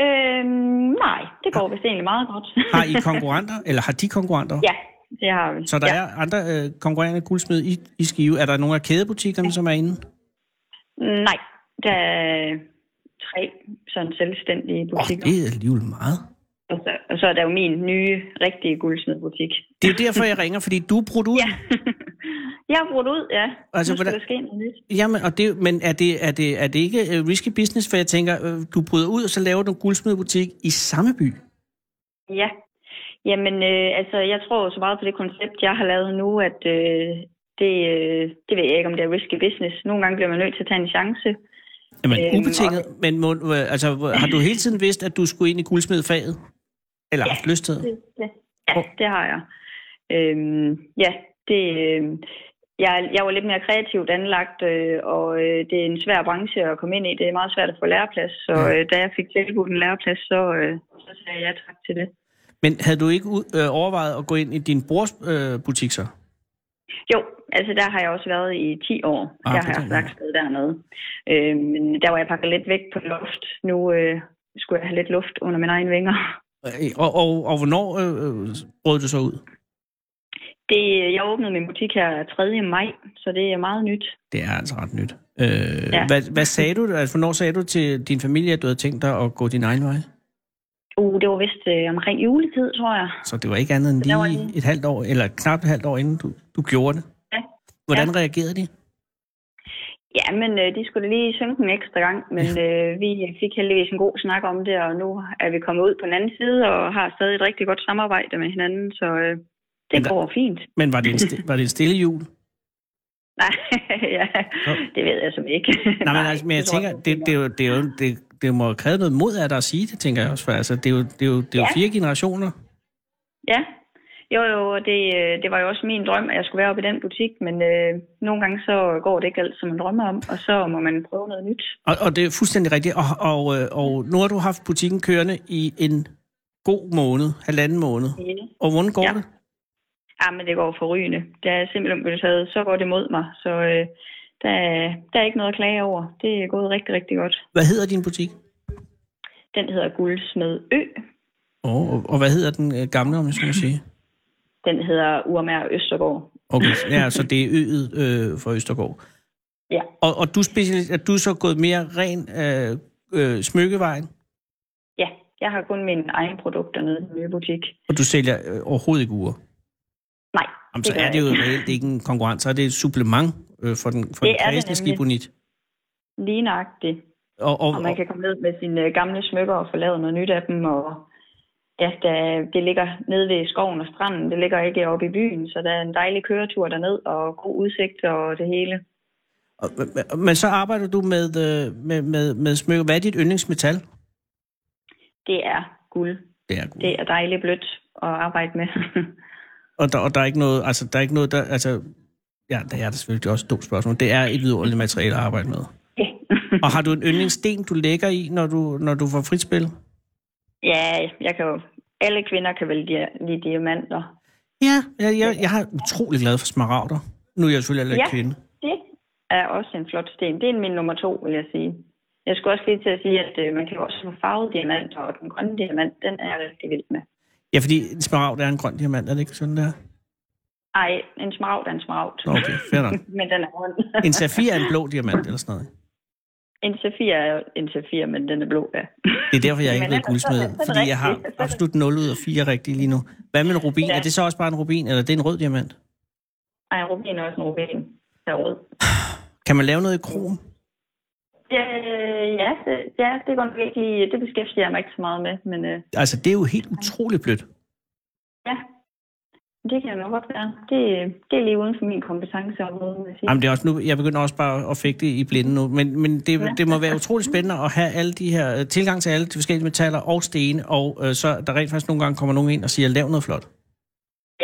Speaker 8: Øhm, nej, det går vist egentlig meget godt.
Speaker 4: Har I konkurrenter, eller har de konkurrenter?
Speaker 8: ja, det har vi.
Speaker 4: Så der
Speaker 8: ja.
Speaker 4: er andre øh, konkurrerende guldsmed i, i Skive. Er der nogle af kædebutikkerne, som er inde?
Speaker 8: Nej, der er tre sådan selvstændige butikker.
Speaker 4: Det er alligevel meget.
Speaker 8: Og, så, og så er der jo min nye, rigtige guldsmedbutik.
Speaker 4: Det er jo derfor, jeg ringer, fordi du er brudt ud. Ja.
Speaker 8: Jeg har brugt ud, ja.
Speaker 4: Altså,
Speaker 8: nu skal
Speaker 4: hvordan-
Speaker 8: der ske noget nyt.
Speaker 4: Jamen, og det, men er det, er, det, er det ikke øh, risky business? For jeg tænker, øh, du bryder ud, og så laver du en guldsmedbutik i samme by.
Speaker 8: Ja. Jamen, øh, altså, jeg tror så meget på det koncept, jeg har lavet nu, at øh, det, øh, det ved jeg ikke, om det er risky business. Nogle gange bliver man nødt til at tage en chance.
Speaker 4: Jamen,
Speaker 8: Øhm,
Speaker 4: øhm, ubetinget. Men må, øh, altså, hvor- har du hele tiden vidst, at du skulle ind i guldsmedfaget? Eller haft lyst til det?
Speaker 8: Det, Ja, det har jeg. Øhm, ja, det, øhm, jeg, jeg var lidt mere kreativt anlagt, øh, og øh, det er en svær branche at komme ind i. Det er meget svært at få læreplads, så øh, da jeg fik tilbudt en læreplads, så, øh, så sagde jeg ja tak til det.
Speaker 4: Men havde du ikke ud- øh, overvejet at gå ind i din brors øh, butik så?
Speaker 8: Jo, altså der har jeg også været i 10 år.
Speaker 4: Ah,
Speaker 8: Ah, der
Speaker 4: for
Speaker 8: har jeg
Speaker 4: den
Speaker 8: haft værksted dernede. Øh, men der var jeg pakket lidt væk på luft. Nu øh, skulle jeg have lidt luft under mine egne vinger.
Speaker 4: Øh, Og, og, og hvornår øh, øh, brød du så ud?
Speaker 8: Det, øh, jeg åbnede min butik her 3. maj, så det er meget nyt.
Speaker 4: Det er altså ret nyt. Øh, ja.
Speaker 8: Ja.
Speaker 4: hvad, hvad sagde du? Altså, hvornår sagde du til din familie, at du havde tænkt dig at gå din egen vej?
Speaker 8: Uh, det var vist øh, omkring juletid, tror jeg.
Speaker 4: Så det var ikke andet end
Speaker 8: Der var
Speaker 4: lige et halvt år, eller knap et halvt år, inden du, du gjorde det.
Speaker 8: Ja.
Speaker 4: Hvordan
Speaker 8: Ja.
Speaker 4: reagerede de?
Speaker 8: Ja, men øh, de skulle da lige synge den ekstra gang, men øh, vi fik heldigvis en god snak om det, og nu er vi kommet ud på den anden side og har stadig et rigtig godt samarbejde med hinanden, så øh, det
Speaker 4: Men der-
Speaker 8: går fint.
Speaker 4: Men var det en, sti- var det en stille jul?
Speaker 8: Nej, ja, det ved jeg som ikke.
Speaker 4: Nej, men, altså, men jeg
Speaker 8: det tror
Speaker 4: tænker, det, det, er jo, det, er jo, det, det må jo kræve noget mod af dig at sige det, tænker jeg også. For, altså, det er jo, det er jo, det er jo
Speaker 8: Ja.
Speaker 4: fire generationer.
Speaker 8: Ja, jo jo, og det, øh, det var jo også min drøm, at jeg skulle være oppe i den butik, men øh, nogle gange så går det ikke alt, som man drømmer om, og så må man prøve noget nyt.
Speaker 4: Og, og det er fuldstændig rigtigt. Og, og, øh, og nu har du haft butikken kørende i en god måned, halvanden måned.
Speaker 8: Ja.
Speaker 4: Og hvordan går
Speaker 8: Ja.
Speaker 4: ja. det?
Speaker 8: Ja, men det går forrygende. Det er simpelthen blevet taget så godt imod mig, så øh, der, er- der er ikke noget at klage over. Det er gået rigtig, rigtig godt.
Speaker 4: Hvad hedder din butik?
Speaker 8: Den hedder Guldsmed Ø.
Speaker 4: Oh, og, og hvad hedder den øh, gamle, om jeg skulle sige?
Speaker 8: Den hedder Urmær Østergaard.
Speaker 4: Okay, ja, så det er øget øh, for Østergaard.
Speaker 8: Ja.
Speaker 4: Og, og du, specialis- er du så gået mere ren øh, øh, smykkevejen,
Speaker 8: Ja, jeg har kun mine egne produkter nede i den nye butik.
Speaker 4: og du sælger øh, overhovedet ikke uger?
Speaker 8: Nej,
Speaker 4: Jamen, så
Speaker 8: gør
Speaker 4: er
Speaker 8: jeg
Speaker 4: det jo
Speaker 8: ikke.
Speaker 4: reelt ikke en konkurrence, så er det et supplement øh, for den, for
Speaker 8: Det
Speaker 4: den
Speaker 8: er det
Speaker 4: kredsende
Speaker 8: nemlig.
Speaker 4: skibonit.
Speaker 8: Lige nøjagtigt.
Speaker 4: Og, og,
Speaker 8: Og man kan komme ned med sine øh, gamle smykker og få lavet noget nyt af dem. Og ja, der, det ligger nede ved skoven og stranden. Det ligger ikke oppe i byen, så der er en dejlig køretur derned og god udsigt og det hele.
Speaker 4: og, og, men så arbejder du med, øh, med, med, med smykker. Hvad er dit yndlingsmetal?
Speaker 8: Det er guld.
Speaker 4: Det er guld.
Speaker 8: Det er dejligt blødt at arbejde med.
Speaker 4: Og der, og der er ikke noget, altså, der er ikke noget, der, altså, ja, der er der selvfølgelig også et dumt spørgsmål. Det er et vidunderligt materiale at arbejde med. og har du en yndlingssten, du lægger i, når du, når du får frit spil?
Speaker 8: ja, jeg kan jo, alle kvinder kan vel dia- lide diamanter.
Speaker 4: Ja, jeg, jeg, jeg er utrolig glad for smaragder. Nu er jeg selvfølgelig heller ikke
Speaker 8: Ja.
Speaker 4: kvinde.
Speaker 8: Det er også en flot sten. Det er min nummer to, vil jeg sige. Jeg skulle også lige til at sige, at øh, man kan jo også få farvede diamanter, og den grønne diamant, den er jeg rigtig vild med.
Speaker 4: Ja, fordi en smaragd er en grøn diamant, er det ikke sådan der?
Speaker 8: Ej, en smaragd er en smaragd.
Speaker 4: Nå, okay, fair nok.
Speaker 8: men den er rund.
Speaker 4: En safir er en blå diamant eller sådan noget.
Speaker 8: En safir er jo en safir, men den er blå, ja.
Speaker 4: Det er derfor, jeg er ikke
Speaker 8: Men
Speaker 4: blevet
Speaker 8: ellers så er det- så er
Speaker 4: guldsmed,
Speaker 8: det
Speaker 4: fordi jeg har
Speaker 8: rigtigt.
Speaker 4: absolut 0 ud af 4 rigtigt lige nu. Hvad med en rubin?
Speaker 8: Ja.
Speaker 4: Er det så også bare en rubin, eller er det en rød diamant?
Speaker 8: Ej, en rubin er også en rubin. Der er rød.
Speaker 4: Kan man lave noget i krom?
Speaker 8: Ja, øh, ja, det, ja, det går nok ikke lige, det beskæftiger jeg mig ikke så meget med, men øh,
Speaker 4: Altså, det er jo helt utroligt blødt.
Speaker 8: ja, det kan jo nok godt være. Det, det er lige uden for min kompetenceområde, vil jeg sige.
Speaker 4: Jamen, det er også nu, jeg begynder også bare at fægte i blinde nu, men, men det, det må være utrolig spændende at have alle de her, øh, tilgang til alle de forskellige metaller og stene, og øh, så der rent faktisk nogle gange kommer nogen ind og siger, lav noget flot.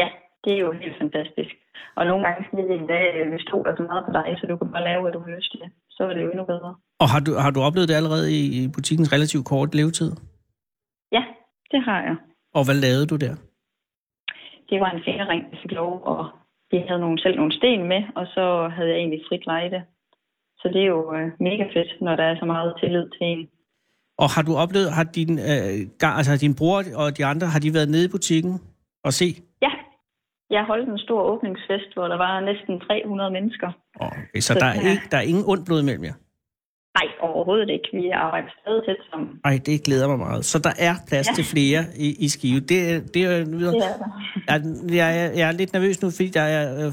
Speaker 8: Ja, det er jo helt fantastisk. Og nogle gange skal det en dag, øh, hvis stoler så meget på dig, så du kan bare lave, hvad du har lyst til. Så er det jo endnu bedre.
Speaker 4: Og har du, har du oplevet det allerede i, i butikkens relativt korte levetid?
Speaker 8: Ja, det har jeg.
Speaker 4: Og hvad lavede du der?
Speaker 8: Det var en fingerring, jeg fik lov, og vi havde nogle, selv nogle sten med, og så havde jeg egentlig frit lejde. Så det er jo øh, mega fedt, når der er så meget tillid til en.
Speaker 4: Og har du oplevet, har din, øh, gar- altså, har din bror og de andre, har de været nede i butikken og se?
Speaker 8: Ja, jeg holdt en stor åbningsfest, hvor der var næsten 300 mennesker.
Speaker 4: Okay, så der er,
Speaker 8: Ja.
Speaker 4: ikke, der er ingen ondt blod mellem jer?
Speaker 8: Nej, overhovedet ikke. Vi arbejder stadig tæt sammen.
Speaker 4: Ej, det glæder mig meget. Så der er plads ja.
Speaker 8: Ja.
Speaker 4: til flere i, i Skive. Det, er- det er videre.
Speaker 8: Det er der.
Speaker 4: Jeg, jeg, er- jeg er lidt nervøs nu, fordi der er øh,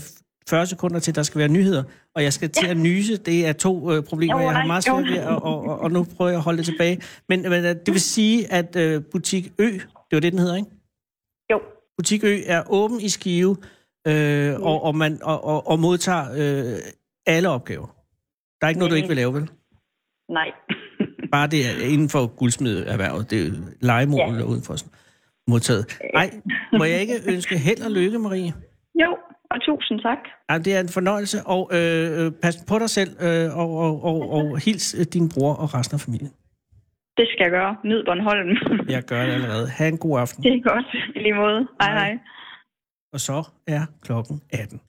Speaker 4: 40 sekunder til, der skal være nyheder, og jeg skal til at nyse. Det er to øh, problemer,
Speaker 14: Jo,
Speaker 4: jeg har
Speaker 14: nej,
Speaker 4: meget
Speaker 14: jo.
Speaker 4: svært ved, og, og, og, og nu prøver jeg at holde det tilbage. Men, men øh, det vil sige, at øh, Butik Ø, det var det, den hedder, ikke?
Speaker 8: Jo.
Speaker 4: Butik Ø er åben i Skive, øh, og, og, man, og, og, og modtager øh, alle opgaver. Der er ikke noget, du ikke vil lave, vel?
Speaker 8: Nej.
Speaker 4: Bare det er inden for guldsmedeerhvervet, det er legemål ja.
Speaker 8: Ja.
Speaker 4: og udenfor. Sådan. Modtaget. Nej, må jeg ikke ønske held og lykke, Marie?
Speaker 8: Jo, og tusind tak.
Speaker 4: Jamen, det er en fornøjelse, og øh, øh, pas på dig selv, øh, og, og, og, og hils øh, din bror og resten af familien.
Speaker 8: Det skal jeg gøre. Nyd Bornholm.
Speaker 4: Jeg gør det allerede. Ha' en god aften.
Speaker 8: det er godt. I lige måde. Hej hej.
Speaker 4: Og så er klokken 18.